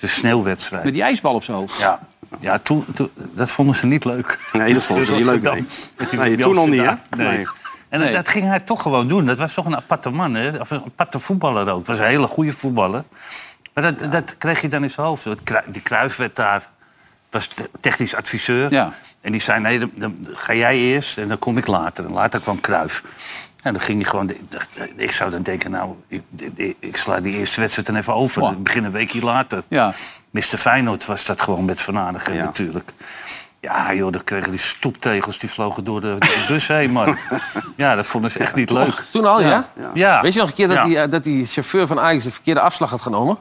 S3: De sneeuwwedstrijd.
S2: Met die ijsbal op zijn hoofd.
S3: Ja, ja toen, toen- dat vonden ze niet leuk.
S4: Nee, dat vonden ze niet leuk,
S3: Rotterdam,
S4: nee.
S3: met die
S4: Nee,
S3: Wim
S4: toen
S3: Jansen
S4: al niet, hè?
S3: daar. Nee.
S4: Nee.
S3: En
S2: Nee.
S3: dat ging hij toch gewoon doen. Dat was toch een aparte man, hè? Of een aparte voetballer ook. Het was een hele goede voetballer. Maar dat, dat kreeg je dan in zijn hoofd. Dat Cru- Die Kruif werd daar, was te- technisch adviseur.
S2: Ja.
S3: En die zei, nee, dan, dan ga jij eerst en dan kom ik later. En later kwam Kruif. En dan ging hij gewoon... Ik dacht, Ik zou dan denken, nou, ik, ik, ik sla die eerste wedstrijd dan even over.
S2: Wow.
S3: Ik begin een weekje later.
S2: Ja.
S3: Mr. Feyenoord was dat gewoon met Van Aardigen
S4: Ja.
S3: natuurlijk. Ja, joh, dan kregen die stoeptegels, die vlogen door de, door de bus heen, man. Ja, dat vonden ze echt niet leuk.
S5: dus Toen al, ja?
S3: Ja.
S5: Weet je nog een keer dat,
S3: Ja.
S5: die, eh, dat die chauffeur van Ajax de verkeerde afslag had genomen?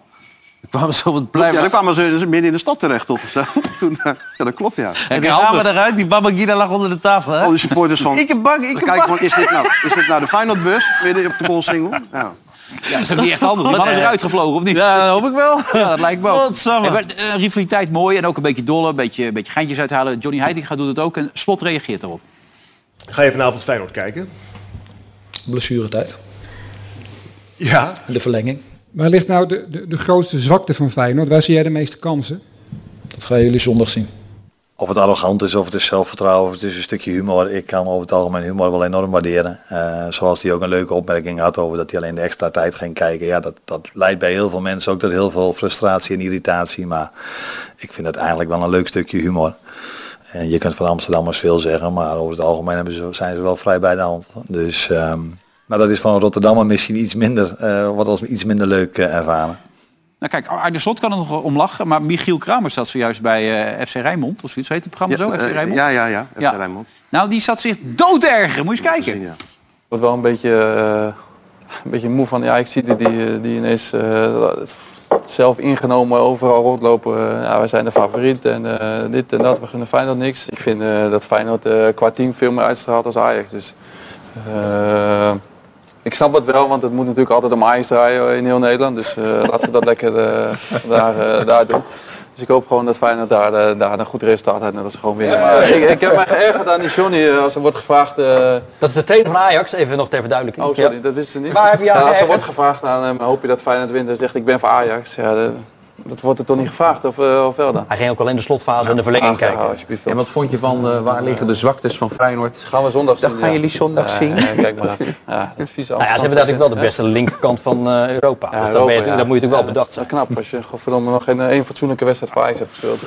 S5: Ik kwam zo wat blij.
S4: Ja, dan kwamen ze dus midden in de stad terecht of zo. Toen, eh, ja, dat klopt, ja.
S5: En toen kwamen we eruit, die Babagina lag onder de tafel. Hè?
S4: Al die supporters van...
S5: Ik heb bang, ik heb
S4: Kijk,
S5: bang.
S4: man, is dit nou, is dit nou de Feyenoordbus midden op de Bolsingel? Ja.
S2: Dat is ook niet echt handig. Die man is eruit gevlogen, Oh, of niet?
S5: Ja, dat hoop ik wel.
S2: Ja, dat lijkt me ook.
S5: Godsamme.
S2: Hey, maar, eh, rivaliteit mooi en ook een beetje dolle, een beetje, een beetje geintjes uithalen. Johnny Heitinga doet het ook en Slot reageert erop.
S9: Ga je vanavond Feyenoord kijken?
S8: Blessuretijd,
S9: Ja.
S8: de verlenging.
S10: Waar ligt nou de, de, de grootste zwakte van Feyenoord? Waar zie jij de meeste kansen?
S8: Dat gaan jullie zondag zien.
S11: Of het arrogant is, of het is zelfvertrouwen, of het is een stukje humor. Ik kan over het algemeen humor wel enorm waarderen. Eh, zoals hij ook een leuke opmerking had over dat hij alleen de extra tijd ging kijken. Ja, dat, dat leidt bij heel veel mensen ook tot heel veel frustratie en irritatie. Maar ik vind het eigenlijk wel een leuk stukje humor. En je kunt van Amsterdammers veel zeggen, maar over het algemeen hebben ze, zijn ze wel vrij bij de hand. Dus, ehm, maar dat is van Rotterdammer misschien iets minder, eh wat als iets minder leuk eh, ervaren.
S2: Nou kijk, Arne Slot kan er nog om lachen, maar Michiel Kramer zat zojuist bij eh, FC Rijnmond. Of zoiets heet het programma zo,
S4: eh,
S2: FC Rijnmond?
S4: ja, ja, ja. FC
S2: Ja.
S4: Rijnmond.
S2: Nou, die zat zich dooderger. Moet je eens kijken.
S4: Ja.
S12: word wel een beetje, eh, een beetje moe van. Ja, ik zie die, die, die ineens eh, zelf ingenomen overal rondlopen. Eh, ja, wij zijn de favoriet en eh, dit en dat. We gunnen Feyenoord niks. Ik vind eh, dat Feyenoord eh, qua team veel meer uitstraalt als Ajax. Dus Eh, ik snap het wel, want het moet natuurlijk altijd om Ajax draaien in heel Nederland. Dus eh laten ze dat lekker eh, daar, eh, daar doen. Dus ik hoop gewoon dat Feyenoord daar, eh, daar een goed resultaat heeft. En dat is gewoon weer... Maar ik, ik heb mij geërgerd aan die Johnny eh, als er wordt gevraagd... eh,
S13: Dat is de trainer van Ajax, even nog ter verduidelijking.
S12: Oh, sorry,
S13: Ja.
S12: dat wist ze niet.
S13: Waar heb je aan
S12: Ja, als er
S13: geërgerd?
S12: wordt gevraagd aan hem, hoop je dat Feyenoord wint en zegt ik ben voor Ajax. Ja, de- dat wordt er toch niet gevraagd, of, eh, of wel dan?
S13: Hij ging ook alleen de slotfase en de verlenging kijken.
S14: En wat vond je van eh, waar liggen de zwaktes van Feyenoord?
S12: Gaan we zondag
S14: Dat
S12: zien,
S14: gaan
S12: ja.
S14: jullie zondag
S12: Ja,
S14: zien.
S12: ja, kijk maar. Ja, dat vieze
S13: Nou ja, ze hebben
S12: afstand.
S13: natuurlijk wel de beste linkerkant van eh, Europa.
S12: Ja,
S13: dus daar
S12: Europa,
S13: ben je-
S12: ja.
S13: daar moet je natuurlijk wel
S12: Ja, dat
S13: bedacht
S12: is wel knap als je godverdomme nog geen eh, één fatsoenlijke wedstrijd voor Ajax hebt gespeeld.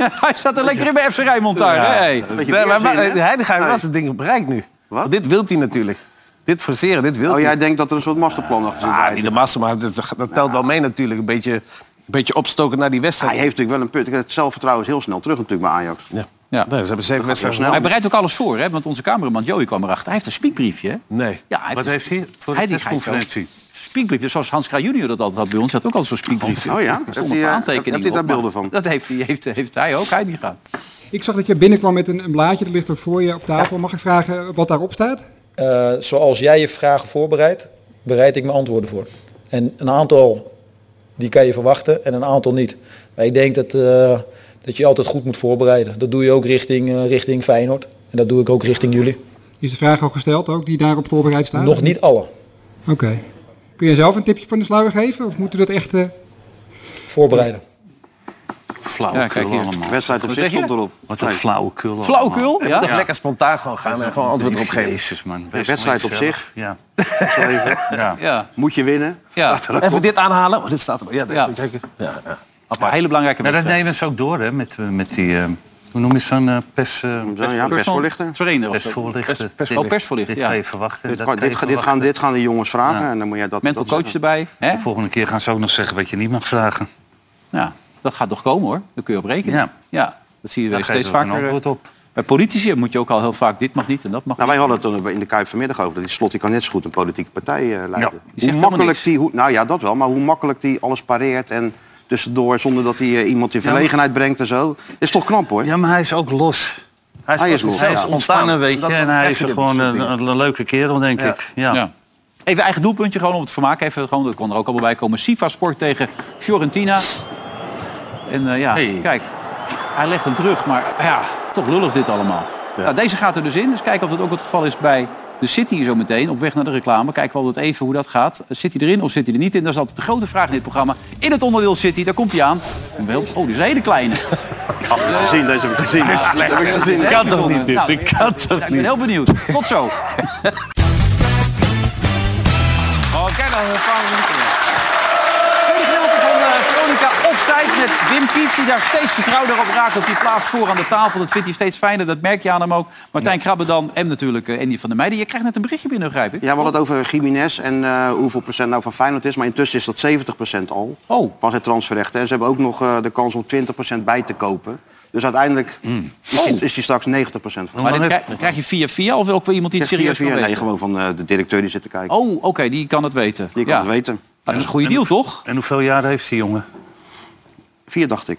S2: Hij zat er lekker in bij FC Rijnmond daar. hè? Hey.
S5: Nee, maar, maar, eh, Heidegaard was het ding bereikt nu. Want Dit wilt hij natuurlijk. Dit forceren, dit wil
S4: Oh,
S5: hij.
S4: jij denkt dat er een soort masterplan achter zit?
S5: Ah, niet de massa, maar dat, dat telt wel mee natuurlijk. Een beetje, een beetje opstoken naar die wedstrijd.
S4: Hij heeft natuurlijk wel een punt. Het zelfvertrouwen is heel snel terug natuurlijk bij Ajax.
S5: Ja.
S2: Ja.
S5: Nee, ze hebben zeven wedstrijden
S2: Hij bereidt ook alles voor, hè? want onze cameraman Joey kwam erachter. Hij heeft een spiekbriefje. hè?
S5: Nee.
S2: Ja, hij
S3: Wat heeft hij voor de
S2: Hij die gaat
S3: persconferentie?
S2: zo'n Spiekbriefje, zoals Hans Kraaij junior dat altijd had bij ons, had ook al zo'n spiekbriefje.
S4: Oh ja?
S2: Er
S4: Heeft
S2: stond
S4: hij,
S2: een
S4: eh,
S2: paar aantekeningen
S4: heeft hij daar
S2: op, maar
S4: beelden van?
S2: Dat heeft, hij- heeft, heeft hij ook, hij die gaat.
S10: Ik zag dat je binnenkwam met een, een blaadje, dat ligt ook voor je op tafel. Mag ik vragen wat daarop staat?
S8: Eh, zoals jij je vragen voorbereidt, bereid ik mijn antwoorden voor. En een aantal die kan je verwachten en een aantal niet. Maar ik denk dat, eh, dat je je altijd goed moet voorbereiden. Dat doe je ook richting, eh, richting Feyenoord. En dat doe ik ook richting jullie.
S10: Is de vraag al gesteld ook, die daarop voorbereid
S12: Ah.
S10: staat?
S8: Nog niet alle.
S10: Oké. Kun je zelf een tipje van de sluier geven? Of moeten we dat echt... eh,
S8: Voorbereiden.
S3: Flauwekul
S2: Ja, kijk hier.
S3: allemaal.
S4: Wedstrijd op
S2: Wat
S4: zich
S2: zeg je?
S4: stond erop.
S3: Wat een flauwekul allemaal.
S2: Flauwekul?
S5: Ja? Nog lekker spontaan gewoon gaan en gewoon antwoord erop geven.
S3: Jezus man.
S4: De wedstrijd op zich.
S3: Ja. Nou,
S4: Zo even.
S3: ja.
S2: Ja.
S4: Moet je winnen.
S2: Ja.
S4: Laat er ook
S5: Even
S4: op.
S5: dit aanhalen. Oh, dit staat er. Ja, dat
S2: Ja.
S5: kijk. Ja, ja.
S2: Een hele belangrijke
S3: Maar dat
S2: wedstrijd.
S3: nemen ze ook door hè, met, eh, met die... eh, hoe noem je zo'n eh, pers... eh,
S4: ja, persvoorlichter.
S2: Trainer was dat.
S3: Persvoorlichter.
S2: Pers- pers- oh, persvoorlichter,
S3: Dit
S2: ja.
S3: kan je verwachten.
S4: Dit,
S3: dat
S4: kan-
S3: kan je
S4: dit, ga- dit, gaan,
S3: verwachten.
S4: dit gaan de jongens vragen en dan moet jij dat...
S2: Mental
S4: dat
S2: coach
S4: zeggen.
S2: erbij. Hè?
S3: De volgende keer gaan ze ook nog zeggen wat je niet mag vragen.
S2: Ja, dat gaat toch komen hoor. Daar kun je op rekenen.
S3: Ja.
S2: Ja, dat zie je
S3: Daar
S2: weer
S3: geven
S2: steeds
S3: we ook een
S2: vaker. eh,
S3: antwoord op.
S2: Bij politici moet je ook al heel vaak dit mag niet en dat mag
S4: Nou, wij hadden het er in de Kuip vanmiddag over. Dat die slot die kan net zo goed een politieke partij eh, leiden.
S2: zegt
S4: hoe
S2: helemaal
S4: makkelijk
S2: niks.
S4: die... Hoe, nou ja, dat wel. Maar hoe makkelijk die alles pareert en tussendoor... zonder dat hij eh, iemand in verlegenheid brengt en zo. Is toch knap hoor.
S3: Ja, maar hij is ook los. Hij is,
S4: Hij is
S3: ook-
S4: los,
S3: hij
S4: ja.
S3: is ontspannen, weet je.
S4: Dat- dat
S3: En hij
S4: krijg
S3: is
S4: je dit
S3: gewoon
S4: soort
S3: een,
S4: dingen.
S3: een leuke kerel, denk
S2: Ja.
S3: ik. Ja.
S2: Ja. Even eigen doelpuntje gewoon om het vermaak. Even gewoon, dat kon er ook allemaal bij komen. Sifa Sport tegen Fiorentina. En eh, ja,
S3: Hey.
S2: kijk, hij legt hem terug. Maar ja, toch lullig dit allemaal. Nou, deze gaat er dus in. Dus kijken of dat ook het geval is bij de City zo meteen. Op weg naar de reclame. Kijken we altijd even hoe dat gaat. Zit hij erin of zit hij er niet in? Dat is altijd de grote vraag in dit programma. In het onderdeel City, daar komt hij aan. En wel- Oh, die is een hele kleine.
S4: gezien, deze heb ik gezien. Dat heb ik gezien.
S2: Dat kan toch niet, dus. Ik kan toch niet. Ik ben heel benieuwd. Tot zo. Oh, kijk dan, een paar minuten. Tweede gedeelte van eh, Veronica Offside met Wim Kief, die daar steeds vertrouwder op raakt. Op die plaats voor aan de tafel. Dat vindt hij steeds fijner, dat merk je aan hem ook. Martijn Krabbedam en natuurlijk eh, Andy van der Meijden. Je krijgt net een berichtje binnen, begrijp ik.
S4: Ja, we hadden het over Jiménez en eh, hoeveel procent nou van Feyenoord is. Maar intussen is dat 70% al
S2: Oh.
S4: van zijn transferrechten. En ze hebben ook nog eh, de kans om 20% bij te kopen. Dus uiteindelijk is, die, is die straks 90% van.
S2: Mm. Oh. Maar dit krijg, dat krijg je via via of ook weer iemand die het
S4: Zegt
S2: serieus
S4: via-
S2: kan
S4: via- Nee,
S2: weten?
S4: gewoon van eh, de directeur die zit te kijken.
S2: Oh, oké, die kan het weten.
S4: Die kan
S2: ja.
S4: het weten.
S2: Nou, dat is een goede
S3: En-
S2: deal, toch?
S3: En hoeveel jaar heeft die jongen?
S4: Vier dacht ik.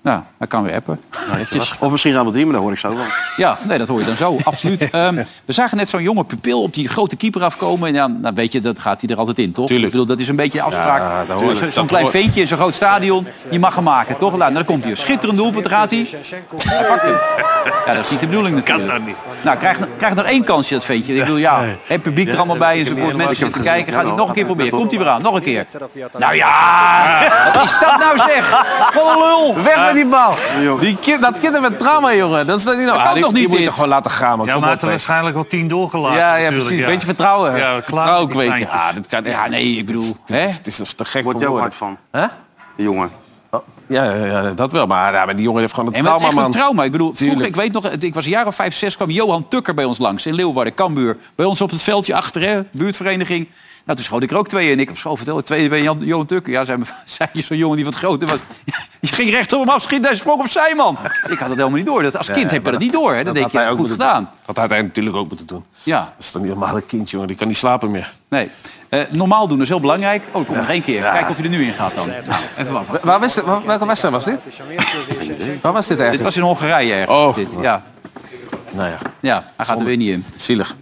S2: Nou, hij kan weer appen. Eventjes.
S4: Of misschien zijn het drie, maar dat hoor ik zo wel.
S2: Ja, nee, dat hoor je dan zo, absoluut. Ehm, we zagen net zo'n jonge pupil op die grote keeper afkomen. En ja, nou weet je, dat gaat hij er altijd in, toch? Ik bedoel, dat is een beetje de afspraak.
S5: dat hoor ik.
S2: Zo- zo'n
S5: Dat
S2: klein
S5: hoor-
S2: ventje in zo'n groot stadion, je mag hem maken, toch? Nou, dan komt hij. Schitterend doelpunt, daar gaat hij. Hij pakt hem. Ja, dat is niet de bedoeling natuurlijk.
S3: niet.
S2: Nou, krijgt krijg nog één kansje, dat ventje. Ik bedoel, ja, het publiek er allemaal bij enzovoort. Mensen zitten kijken, gaat hij nog een keer proberen. Komt hij weer aan, nog een keer. Nou ja, wat is dat nou zeg? Wat een lul.
S5: Weg met die bal. Die kind, dat kind met trauma, jongen. Dat is dat niet nou.
S2: kan
S5: Ah, die-
S2: toch niet,
S5: Die moet je
S2: dit?
S5: gewoon laten gaan, man.
S3: Ja,
S5: Kom
S3: maar
S5: op,
S3: het er
S5: hè.
S3: waarschijnlijk al tien doorgelaten.
S5: ja, ja,
S3: natuurlijk,
S5: precies. Beetje vertrouwen.
S3: Ja, klaar met
S5: vertrouwen
S3: die
S5: kweken.
S3: kleintjes.
S2: Ah,
S5: Ja, dat kan, ja, nee, ik bedoel... hè? Het is toch te gek
S4: Wordt
S5: voor woorden.
S4: jou hard van,
S5: Hè?
S4: de jongen.
S5: Ja, ja, ja, dat wel. Maar, ja, maar die jongen heeft gewoon
S2: Nee,
S5: een
S2: maar het is
S5: trauma,
S2: echt een
S5: man.
S2: trauma. Ik bedoel, vroeger,
S5: Tuurlijk.
S2: ik weet nog, het- ik was een jaar of vijf, zes, kwam Johan Tukker bij ons langs in Leeuwarden, Kambuur. Bij ons op het veldje achter, hè, buurtvereniging. Nou, toen schoot ik er ook twee in. Ik heb schoon verteld, twee bij Jan, Johan Tukker. Ja, zei, me- zei je zo'n jongen die wat groter was. Je ging recht op hem afschieten, hij sprong opzij, man. Ik had het helemaal niet door. Dat, als kind heb je dat niet door, hè. Dan denk
S5: had hij
S2: je,
S5: ook
S2: goed
S5: moeten-
S2: gedaan.
S5: Dat had hij natuurlijk ook moeten doen.
S2: Ja,
S5: Dat is toch niet normaal een kind, jongen. Die kan niet slapen meer.
S2: nee. Eh, normaal doen is heel belangrijk. Oh, er komt nog één keer. Kijk of je er nu in gaat dan. Nou, even wachten.
S5: Waar was dit, waar- welke wedstrijd was dit? Waar was dit
S2: Dit
S5: eigenlijk?
S2: was in Hongarije ergens.
S5: Oh.
S2: dit, ja.
S5: Nou ja.
S2: Ja, hij gaat er weer niet in. Zielig.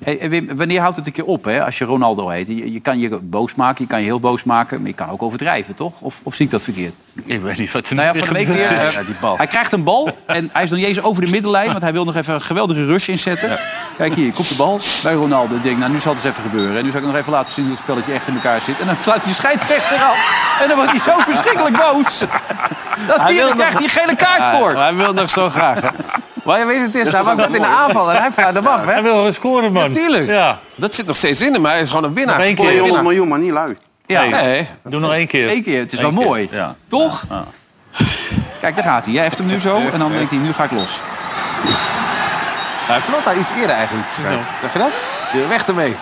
S2: wanneer houdt het een keer op hè, als je Ronaldo heet? Je, je kan je boos maken, je kan je heel boos maken, maar je kan ook overdrijven, toch? Of, of zie ik dat verkeerd?
S3: Ik weet niet wat er
S2: Nou ja,
S3: nu
S2: van de week
S3: gebeurt.
S2: weer. eh,
S3: Ja, die bal.
S2: Hij krijgt een bal en hij is nog niet eens over de middenlijn, want hij wil nog even een geweldige rush inzetten. Kijk hier, komt de bal bij Ronaldo. Ik denk, nou nu zal het eens even gebeuren. En nu zal ik nog even laten zien hoe het spelletje echt in elkaar zit. En dan sluit hij de scheidsrechter af. En dan wordt hij zo verschrikkelijk boos. Dat
S5: Hij
S2: hij
S5: wil
S2: hier krijgt
S5: nog-
S2: hij gele kaart voor.
S5: hij wil nog zo graag. Maar je weet het is, hij mag dat in de aanval en hij vraagt de wacht. Hij
S7: wil scoren, man.
S5: Natuurlijk. Dat zit nog steeds in hem, maar hij is gewoon een winnaar.
S3: Nog één keer.
S5: Een winnaar.
S4: 200 miljoen, maar niet lui.
S2: Ja.
S5: Nee.
S3: Doe nog één keer.
S2: Eén keer, het is
S3: Eén
S2: wel
S3: keer.
S2: mooi.
S3: Ja.
S2: Toch? Kijk, daar gaat hij. Jij heeft hem nu zo en dan denkt hij, nu ga ik los.
S5: Hij vlot daar iets eerder eigenlijk. Zeg je dat? Ja, Weg ermee.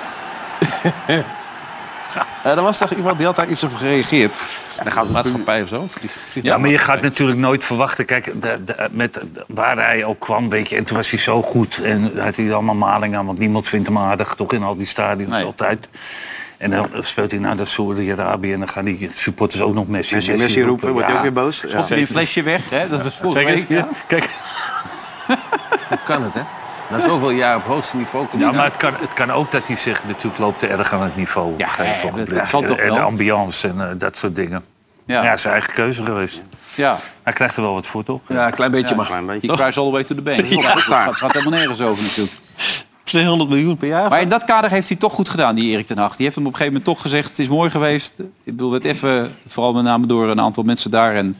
S5: Ja, er was toch iemand die had daar iets op gereageerd.
S4: dan gaat het
S5: maatschappij of zo.
S3: Ja, maar je gaat natuurlijk nooit verwachten. Kijk, de, de- met, de- waar hij ook kwam, weet je, en toen was hij zo goed. En had hij allemaal maling aan, want niemand vindt hem aardig, toch in al die stadions altijd. En dan speelt hij naar dat Saudi-Arabië en dan gaan die supporters ook nog Messi,
S4: Messi, Messi roepen, wordt hij ook weer boos? Ja.
S2: Schopt hij een flesje weg, hè? Dat was volgens
S3: Kijk, eens,
S2: mij...
S3: kijk,
S5: Hoe kan het, hè? Na zoveel jaar op hoogste niveau... komt
S3: ja,
S5: hij
S3: maar het kan, het kan ook dat hij zich natuurlijk loopt te erg aan het niveau.
S2: ja,
S3: Ja, geeft
S2: dat- dat zal toch
S3: en de
S2: wel.
S3: ambiance en eh, dat soort dingen.
S2: Ja.
S3: Ja, zijn eigen keuze geweest.
S2: Ja,
S3: Hij krijgt er wel wat voor, toch?
S5: Ja, een klein beetje
S2: Ja.
S5: mag.
S4: Klein beetje.
S2: die kruis all the way to the bank.
S4: Ja.
S2: Ja, dat gaat, gaat helemaal nergens over natuurlijk.
S5: 200 miljoen per jaar.
S2: Maar in dat kader heeft hij toch goed gedaan, die Erik ten Hag. Die heeft hem op een gegeven moment toch gezegd, het is mooi geweest. Ik bedoel, werd even, vooral met name door een aantal mensen daar. En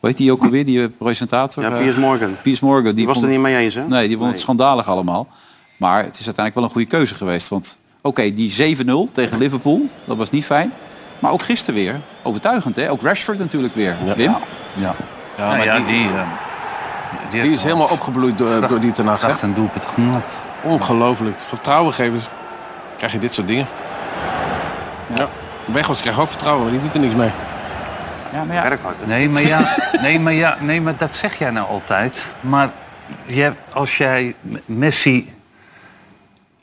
S2: hoe heet die ook alweer, die eh, presentator?
S4: Ja,
S2: Eh,
S4: Piers Morgan.
S2: Piers Morgan.
S4: Die was
S2: vond-
S4: er niet mee eens, hè?
S2: Nee, die vond het schandalig allemaal. Maar het is uiteindelijk wel een goede keuze geweest. Want oké, die 7-0 tegen Liverpool, dat was niet fijn. Maar ook gisteren weer, overtuigend hè. Ook Rashford natuurlijk weer, Wim.
S3: Ja, ja,
S5: maar
S3: ja
S5: die-
S3: die, eh, die,
S5: Die is helemaal opgebloeid door, door die ten Hag, hè?
S3: Echt een doelpunt gemaakt.
S5: nou, Ongelooflijk. Vertrouwen geven ze- krijg je dit soort dingen. Ja. Weghorst krijgt ook vertrouwen, maar die doet er niks mee.
S2: Ja, maar ja,
S4: Werkt hard, hè?
S3: Nee, maar ja, nee, maar ja, nee, maar dat zeg jij nou altijd. Maar je hebt, als jij M- Messi,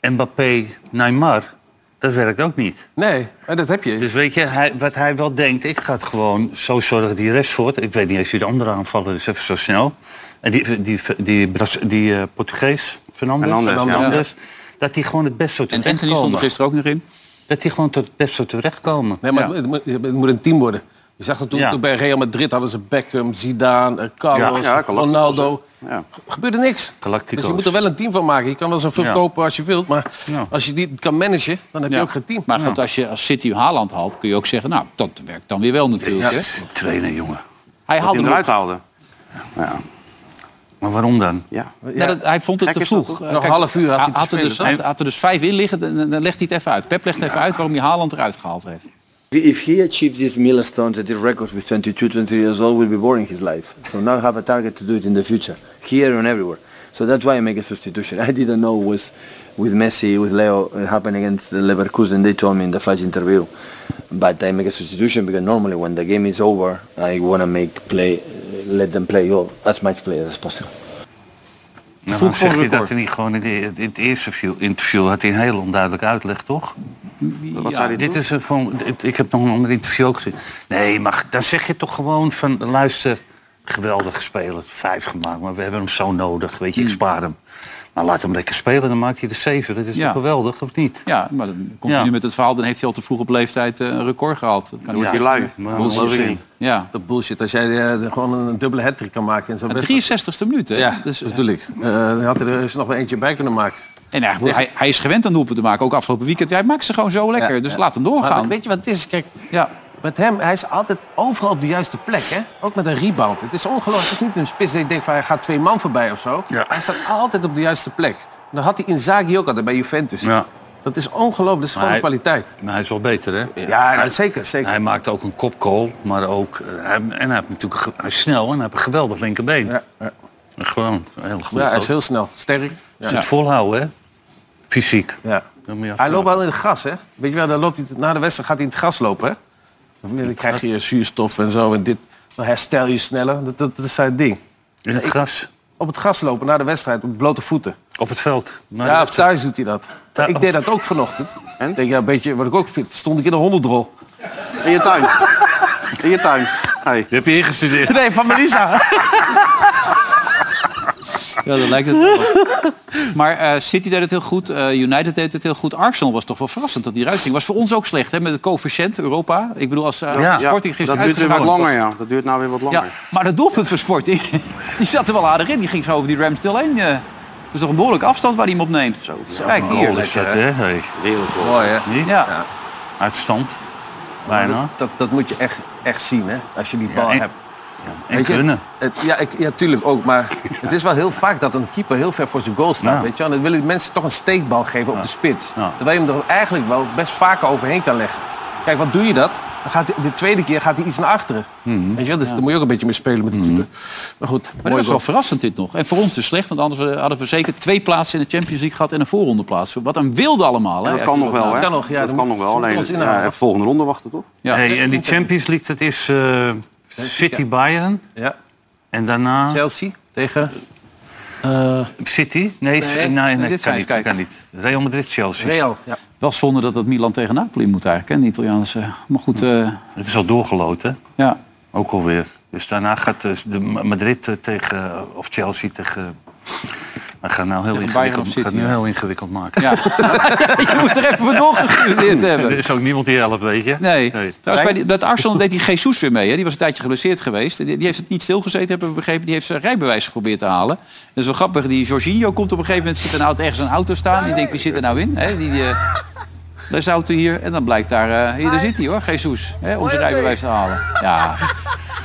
S3: Mbappé, Neymar, dat werkt ook niet.
S5: Nee, maar dat heb je.
S3: Dus weet je, hij, wat hij wel denkt, ik ga het gewoon zo zorgen die rest voor. Ik weet niet eens wie de andere aanvallen, dus even zo snel. En die, die, die, Bras- die, eh, Portugees, Fernandes,
S4: Fernandes, ja.
S3: dat die gewoon het best zo
S2: en Anthony stond er
S3: terechtkomen.
S2: gisteren ook nog in.
S3: Dat die gewoon tot het best zo terechtkomen.
S5: Nee, maar
S3: Ja.
S5: het, moet, het moet een team worden. Je zag dat toen,
S3: Ja.
S5: toen bij Real Madrid hadden ze Beckham, Zidane, eh, Carlos,
S4: Ja, ja, Galacticos,
S5: Ronaldo.
S4: Ja.
S5: Gebeurde niks.
S3: Galacticos.
S5: Dus je moet er wel een team van maken. Je kan wel zoveel
S3: Ja.
S5: kopen als je wilt, maar
S3: Ja.
S5: als je die kan managen, dan heb je
S2: Ja.
S5: ook geen team.
S2: Maar goed, als je als City Haaland haalt, kun je ook zeggen... nou, dat werkt dan weer wel natuurlijk. Hè?
S3: Trainen, jongen.
S2: Hij haalde
S4: Dat hij
S2: hem
S4: hem
S2: op.
S4: eruit haalde. Ja.
S3: Maar waarom dan?
S4: ja.
S2: Nou, dat- hij vond het
S4: Gek
S2: te
S4: is dat
S2: vroeg.
S4: toch?
S2: Eh,
S5: Nog een half uur had hij te
S2: er
S5: spelen,
S2: dus,
S5: toch?
S2: had, had er dus vijf in liggen, dan, dan legt hij het even uit. Pep legt even uit waarom hij Haaland eruit gehaald heeft.
S15: If he achieved these milestones at the records with 22, 23 years old, will be boring his life. So now have a target to do it in the future, here and everywhere. So that's why I make a substitution. I didn't know was with Messi, with Leo, it happened against the Leverkusen. They told me in the flash interview. But I make a substitution because normally when the game is over, I want to make play, let them play all, as much play as possible.
S3: Nou,
S2: Vroeg
S3: dan
S2: voor
S3: zeg
S2: een
S3: je dat
S2: record.
S3: hij niet gewoon in, de- in het eerste view- interview had hij een heel onduidelijk uitleg, toch?
S4: Wat zei hij
S3: Dit
S4: toen?
S3: is een van, dit- ik heb nog een ander interview ook gezien. Nee, maar dan zeg je toch gewoon van, luister, geweldige speler, vijf gemaakt, maar we hebben hem zo nodig, weet je,
S5: Hmm.
S3: ik spaar hem. Maar laat hem lekker spelen, dan maakt hij de zeven. Dat is
S2: Ja.
S3: toch geweldig, of niet?
S2: Ja, maar dan komt
S3: Ja.
S2: hij nu met het verhaal, dan heeft hij al te vroeg op leeftijd eh, een record gehaald. Dat kan
S4: Dan wordt
S2: niet.
S4: hij lui.
S3: maar-
S4: Dat geloof ik niet.
S2: Ja.
S5: Dat bullshit. Als jij eh, gewoon een dubbele hat kan maken in zo'n
S2: De
S5: wedstrijd.
S2: 63ste minuut, hè?
S5: Ja,
S2: Dus,
S5: dat bedoel ik. Eh, dan had hij er eens nog wel eentje bij kunnen maken.
S2: en hij, hij, hij is gewend aan doelpunten te maken, ook afgelopen weekend. Hij maakt ze gewoon zo lekker, dus laat hem
S5: Maar
S2: doorgaan.
S5: weet je wat het is? Kijk,
S2: Ja.
S5: met hem, hij is altijd overal op de juiste plek. Hè? Ook met een rebound. Het is ongelooflijk. Het is niet een spits dat ik denk van hij gaat twee man voorbij of zo.
S3: Ja.
S5: Hij staat altijd op de juiste plek. Dan had hij Inzaghi ook altijd bij Juventus.
S3: Ja.
S5: Dat is ongelooflijk. Dat is gewoon
S3: Maar hij-
S5: kwaliteit.
S3: Maar hij is wel beter, hè?
S5: Ja, nou, zeker. zeker.
S3: Hij maakt ook een kopkool, maar ook... eh, hij- en hij, heeft natuurlijk, ge- hij is snel en hij heeft een geweldig linkerbeen.
S5: Ja, ja.
S3: Gewoon, een heel goed.
S5: ja, hij is
S3: ook.
S5: heel snel. Sterk.
S3: Dus
S5: Ja.
S3: het volhouden, hè? Fysiek.
S5: Ja.
S3: Dan moet je
S5: Hij
S3: afvragen.
S5: loopt al in het gas, hè? Weet je wel, dan loopt hij, na de wedstrijd gaat hij in het gas lopen, hè? Dan krijg je zuurstof en zo en dit. Dan herstel je sneller. Dat, dat, dat is zijn ding.
S3: In het gras,
S5: Op het gas lopen na de wedstrijd op blote voeten.
S3: op het veld. Nou, Maar
S5: Ja,
S3: dat-
S5: of thuis doet hij dat.
S3: Thu-
S5: Ik deed dat ook vanochtend. Ik Denk, ja, een beetje wat ik ook vind. Stond ik in een hondendrol.
S4: In je tuin. In je tuin. Hey.
S3: Je hebt je ingestudeerd.
S5: Nee, van Melissa.
S2: Ja, dat lijkt het wel. Maar eh, City deed het heel goed. eh, United deed het heel goed. Arsenal was toch wel verrassend dat die eruit ging. Was voor ons ook slecht, hè? Met de coëfficiënt Europa. Ik bedoel, als eh, Sporting gisteren
S4: dat duurt weer wat
S2: uitgeschakeld
S4: langer,
S2: was-
S4: ja. Dat duurt nou weer wat langer.
S2: Ja, maar dat doelpunt van Sporting, die zat er wel aardig in. Die ging zo over die Ramsdale heen. eh. Dat is toch een behoorlijke afstand waar hij hem opneemt. Kijk,
S3: Een
S2: hier.
S3: goal Oh, is dat, hè? Hey.
S2: Mooi, hè?
S3: Niet?
S2: Ja.
S3: Uitstand. Bijna.
S5: Dat, dat moet je echt, echt zien, hè? Als je die bal
S3: en-
S5: hebt.
S3: en
S5: Weet je,
S3: kunnen.
S5: het- ja, ik, ja, tuurlijk ook. Maar het is wel heel vaak dat een keeper heel ver voor zijn goal staat.
S3: Ja.
S5: Weet je? wel. En dan willen die mensen toch een steekbal geven op de spits. Terwijl je hem er eigenlijk wel best vaker overheen kan leggen. Kijk, wat doe je dat? Dan gaat hij- de tweede keer gaat hij iets naar achteren. Weet je, wel? dus daar moet je ook een beetje mee spelen met die type. Mhm. Maar goed,
S2: Maar dat is wel verrassend dit nog. En voor ons dus slecht, want anders eh, hadden we zeker twee plaatsen in de Champions League gehad en een voorronde plaats. Wat een wilde allemaal.
S4: Ja,
S2: Hè?
S4: dat kan nog wel, hè?
S2: Kan nog, ja,
S4: dat kan nog wel. Alleen,
S2: ons
S4: ja,
S2: inhouden.
S4: de volgende ronde wachten, toch?
S3: Hey, en die Champions League, dat is eh, City Bayern.
S5: Ja.
S3: En daarna...
S5: Chelsea tegen...
S3: City? Nee, s- nee,
S2: Nee, dit
S3: nee, kan,
S2: zijn
S3: niet,
S2: even
S3: kan niet. Real Madrid, Chelsea.
S5: Real, ja.
S2: Wel zonde dat dat Milan tegen Napoli moet eigenlijk, hè, de Italiaanse. Maar goed, eh,
S3: Het is al doorgeloten.
S2: Ja.
S3: Ook alweer. Dus daarna gaat eh, de Ma- Madrid eh, tegen... eh, of Chelsea tegen... eh, We gaan nou heel
S2: Tegen Bayern
S3: ingewikkeld,
S2: of City,
S3: gaat nu
S2: ja.
S3: heel ingewikkeld maken.
S2: Ja. je moet er even mee doorgestudeerd hebben.
S3: Er is ook niemand die helpt, weet je.
S2: Nee. Nou, Trouwens, bij die, dat Arsenal deed die Jesus weer mee. Hè? Die was een tijdje geblesseerd geweest. Die, die heeft het niet stilgezeten, hebben we begrepen. Die heeft zijn rijbewijs geprobeerd te halen. Dat is wel grappig. Die Jorginho komt op een gegeven moment... zit een auto, ergens een auto staan. Die denkt, wie zit er nou in? Hè? Die, eh, daar is de auto hier. En dan blijkt daar... eh, hier, daar zit hij hoor, Jesus. Hè? Om zijn rijbewijs te halen. Ja.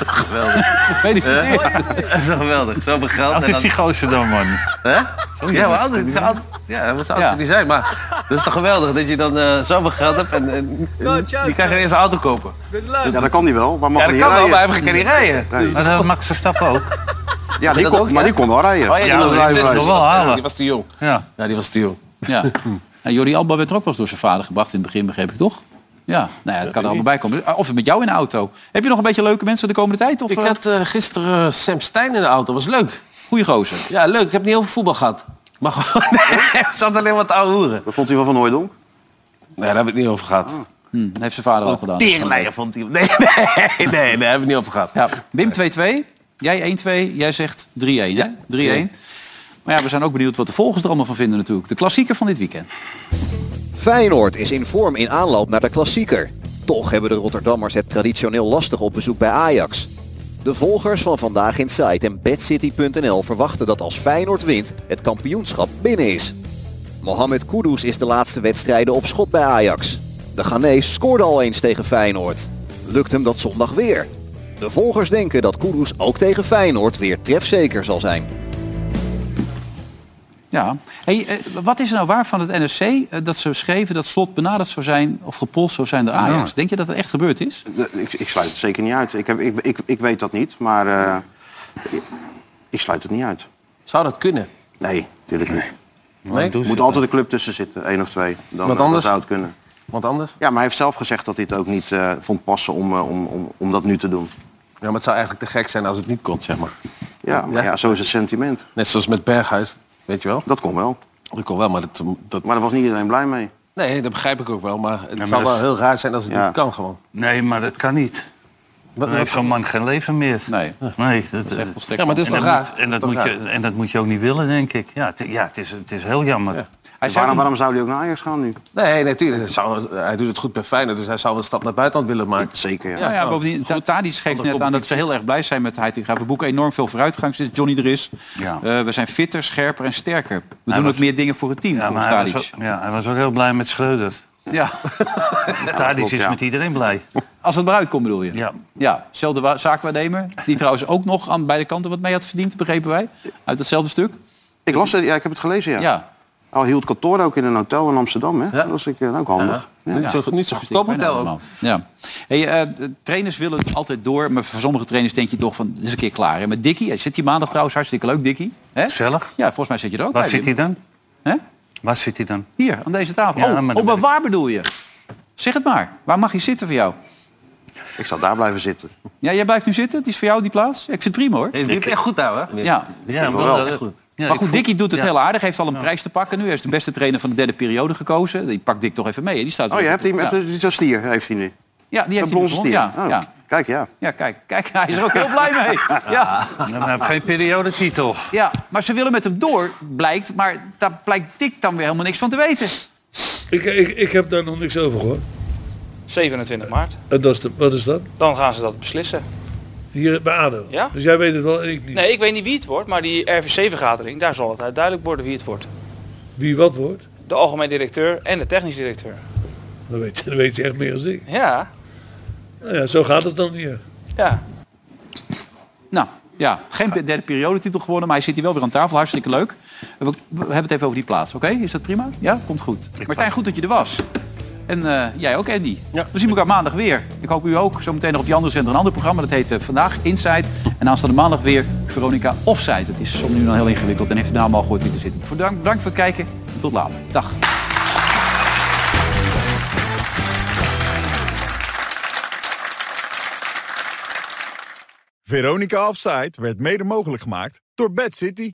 S3: Geweldig.
S2: Weet niet
S3: Hè?
S2: verkeerd.
S3: Dat is toch geweldig. Zo begeld.
S5: en
S3: Wat is
S5: dan-
S3: die gozer dan, man?
S5: Hè?
S3: Zo
S5: ja,
S3: jong
S5: maar
S3: is
S5: altijd,
S3: die,
S5: ja,
S3: man.
S5: altijd- ja, dat was de oudste
S3: Ja.
S5: die zijn. Maar dat is toch geweldig dat je dan eh zoveel geld hebt en, en die kan geen eens een auto kopen.
S4: Ja, dat kan die wel, maar mag
S5: Ja, dat
S4: niet
S5: kan wel,
S4: rijden.
S5: maar hij kan niet rijden.
S4: Nee.
S5: Maar
S3: dat Max Verstappen ook.
S4: Ja, die
S5: dat
S4: kon,
S5: ook,
S4: maar
S5: ja?
S4: die kon wel rijden.
S5: Oh, ja,
S4: dat
S5: die, was, die, was,
S4: rijbewijs.
S5: die, was, die was te jong.
S3: Ja.
S5: Ja, die was te jong.
S2: Ja. En Jordi Alba werd er ook wel eens door zijn vader gebracht in het begin, begreep ik toch? Ja, nou ja, het kan er allemaal bij komen. Of met jou in de auto. Heb je nog een beetje leuke mensen de komende tijd? Of,
S5: Ik had eh, gisteren eh, Sam Stein in de auto, was leuk.
S2: Goeie gozer.
S5: Ja, leuk. Ik heb niet over voetbal gehad. Maar gewoon, er zat alleen wat oude hoeren.
S4: Wat vond hij wel van Hooydonk?
S5: Nee, daar hebben we het niet over gehad.
S2: Hm, dat heeft zijn vader al gedaan.
S5: Teringleier vond hij. Nee, nee, nee, nee, daar hebben we het niet over gehad.
S2: Ja, Wim 2-2, jij 1-2, jij zegt 3-1. hè? 3-1. Maar ja, we zijn ook benieuwd wat de volgers er allemaal van vinden natuurlijk. De klassieker van dit weekend.
S16: Feyenoord is in vorm in aanloop naar de klassieker. Toch hebben de Rotterdammers het traditioneel lastig op bezoek bij Ajax. De volgers van Vandaag in Site en BadCity.nl verwachten dat als Feyenoord wint, het kampioenschap binnen is. Mohamed Kudus is de laatste wedstrijden op schot bij Ajax. De Ghanese scoorde al eens tegen Feyenoord. Lukt hem dat zondag weer? De volgers denken dat Kudus ook tegen Feyenoord weer trefzeker zal zijn.
S2: Ja. Hey, eh, wat is er nou waar van het NSC eh, dat ze schreven dat slot benaderd zou zijn of gepolst zou zijn door Ajax?
S4: Ja.
S2: Denk je dat het echt gebeurd is?
S4: Ik, ik sluit het zeker niet uit. Ik, heb, ik, ik, ik weet dat niet, maar eh, ik, ik sluit het niet uit.
S5: Zou dat kunnen?
S4: Nee, natuurlijk niet.
S5: Nee?
S4: Er moet altijd een club tussen zitten, één of twee. Dan,
S5: Wat
S4: eh,
S5: anders?
S4: zou het kunnen.
S5: Want anders?
S4: Ja, maar hij heeft zelf gezegd dat hij het ook niet eh, vond passen om, eh, om, om, om dat nu te doen.
S5: Ja, maar het zou eigenlijk te gek zijn als het niet kon, zeg maar.
S4: Ja, maar ja, zo is het sentiment.
S5: Net zoals met Berghuis, weet je wel?
S4: Dat kon wel.
S5: Dat kon wel, maar dat... dat...
S4: Maar daar was niet iedereen blij mee.
S5: Nee, dat begrijp ik ook wel, maar het
S3: maar
S5: zou
S3: dat
S5: wel
S3: is-
S5: heel raar zijn als het
S4: Ja.
S5: niet kan gewoon.
S3: Nee, maar dat kan niet.
S5: Wat-
S3: Dan heeft zo'n man geen leven meer.
S2: Nee.
S3: Nee, dat,
S2: is echt volstrekt
S5: Ja, maar dat is
S3: en
S5: toch
S3: dat
S5: raar?
S3: moet- en, dat
S5: Toch
S3: moet je,
S5: raar?
S3: en dat moet je ook niet willen, denk ik. Ja, het, ja, het, is, het is heel jammer.
S2: Hij
S4: waarom, waarom zou hij ook naar Ajax gaan nu?
S5: Nee, natuurlijk. hij zou- hij doet het goed bij Feyenoord, dus hij zou wel een stap naar buitenland willen maken.
S4: Zeker, ja.
S2: Nou ja,
S3: Oh,
S2: bovendien, Ta- Tadic geeft net aan dat ze heel erg blij zijn met Heitinga. We boeken enorm veel vooruitgang sinds Johnny er is.
S3: Ja.
S2: Eh, we zijn fitter, scherper en sterker. We
S3: Hij
S2: doen
S3: was-
S2: ook meer dingen voor het team,
S3: Ja,
S2: volgens
S3: maar hij
S2: Tadic.
S3: was, ook, ja, hij was ook heel blij met Schreuder.
S2: Ja.
S3: Tadic
S2: klopt,
S3: is
S2: ja.
S3: met iedereen blij.
S2: Als het maar uitkomt bedoel je?
S3: Ja.
S2: Ja, zelfde wa- zaakwaarnemer. Die trouwens ook nog aan beide kanten wat mee had verdiend, begrepen wij. Uit hetzelfde stuk.
S4: Ik las het, ja, ik heb het gelezen, ja.
S2: Ja.
S4: Al hield kantoor ook in een hotel in Amsterdam, hè? Dat was ik, eh, ook handig. Ja.
S5: Niet zo, niet zo goedkoop hotel ook.
S2: Ja. Hey, eh, de trainers willen altijd door. Maar voor sommige trainers denk je toch van, dit is een keer klaar. Hè? Met Dikkie, hij zit hier maandag trouwens hartstikke leuk, Dikkie. Hè?
S3: Gezellig.
S2: Ja, volgens mij zit je er ook
S3: Waar
S2: bij,
S3: zit
S2: Wim.
S3: hij dan?
S2: Hè?
S3: Waar zit hij dan?
S2: Hier, aan deze tafel.
S3: Ja,
S2: oh,
S3: maar
S2: maar,
S3: dan
S2: oh, maar waar bedoel je? Zeg het maar. Waar mag je zitten voor jou?
S4: Ik zou daar blijven zitten.
S2: Ja, jij blijft nu zitten. Het is voor jou die plaats. Ik vind het prima hoor.
S5: Nee, dit is echt goed daar, hè?
S2: Ja.
S3: Ja,
S5: wel
S3: wel.
S5: echt goed.
S3: Ja,
S2: maar
S3: ik
S2: goed,
S3: voel-
S2: Dikkie doet het
S3: ja.
S2: heel aardig. Hij heeft al een prijs te pakken nu. Hij is de beste trainer van de derde periode gekozen. Die pakt Dick toch even mee. hè? Die staat
S4: Oh, je hebt
S2: die
S4: hem,
S2: ja.
S4: hebt hem- dat stier heeft hij nu.
S2: ja, die heeft
S4: bronzen
S2: hij gewonnen. Ja,
S4: stier. Oh.
S2: ja.
S4: Kijk, ja.
S2: Ja, kijk, kijk, hij is er ook heel blij mee. Ja.
S3: Dan heb ik geen periodetitel.
S2: ja, maar ze willen met hem door, blijkt. Maar daar blijkt Dick dan weer helemaal niks van te weten.
S12: Ik, ik, ik heb daar nog niks over gehoord.
S5: 27 maart.
S12: En Eh, dat is de, wat is dat?
S5: Dan gaan ze dat beslissen.
S12: Hier bij ADO.
S5: Ja?
S12: Dus jij weet het wel en ik niet.
S5: Nee, ik weet niet wie het wordt, maar die RVC-vergadering, daar zal het uit duidelijk worden wie het wordt.
S12: Wie wat wordt,
S5: De algemeen directeur en de technisch directeur.
S12: dan weet, je, dan weet je echt meer dan ik.
S5: Ja,
S12: Nou ja, zo gaat het dan hier.
S5: ja.
S2: Nou, ja, geen pe- derde periodetitel gewonnen, maar hij zit hier wel weer aan tafel. Hartstikke leuk. We, we hebben het even over die plaats, oké? Is dat prima? Ja, komt goed. Martijn, goed dat je er was. En eh, jij ook, Andy. We zien elkaar maandag weer. Ik hoop u ook. Zometeen nog op die andere zender een ander programma. Dat heet eh, Vandaag Inside. En aanstaande maandag weer Veronica Offside. Het is soms nu dan heel ingewikkeld en heeft de naam al gehoord wie er zit. Voor dank, bedankt voor het kijken en tot later. Dag.
S1: Veronica Offside werd mede mogelijk gemaakt door Bad City.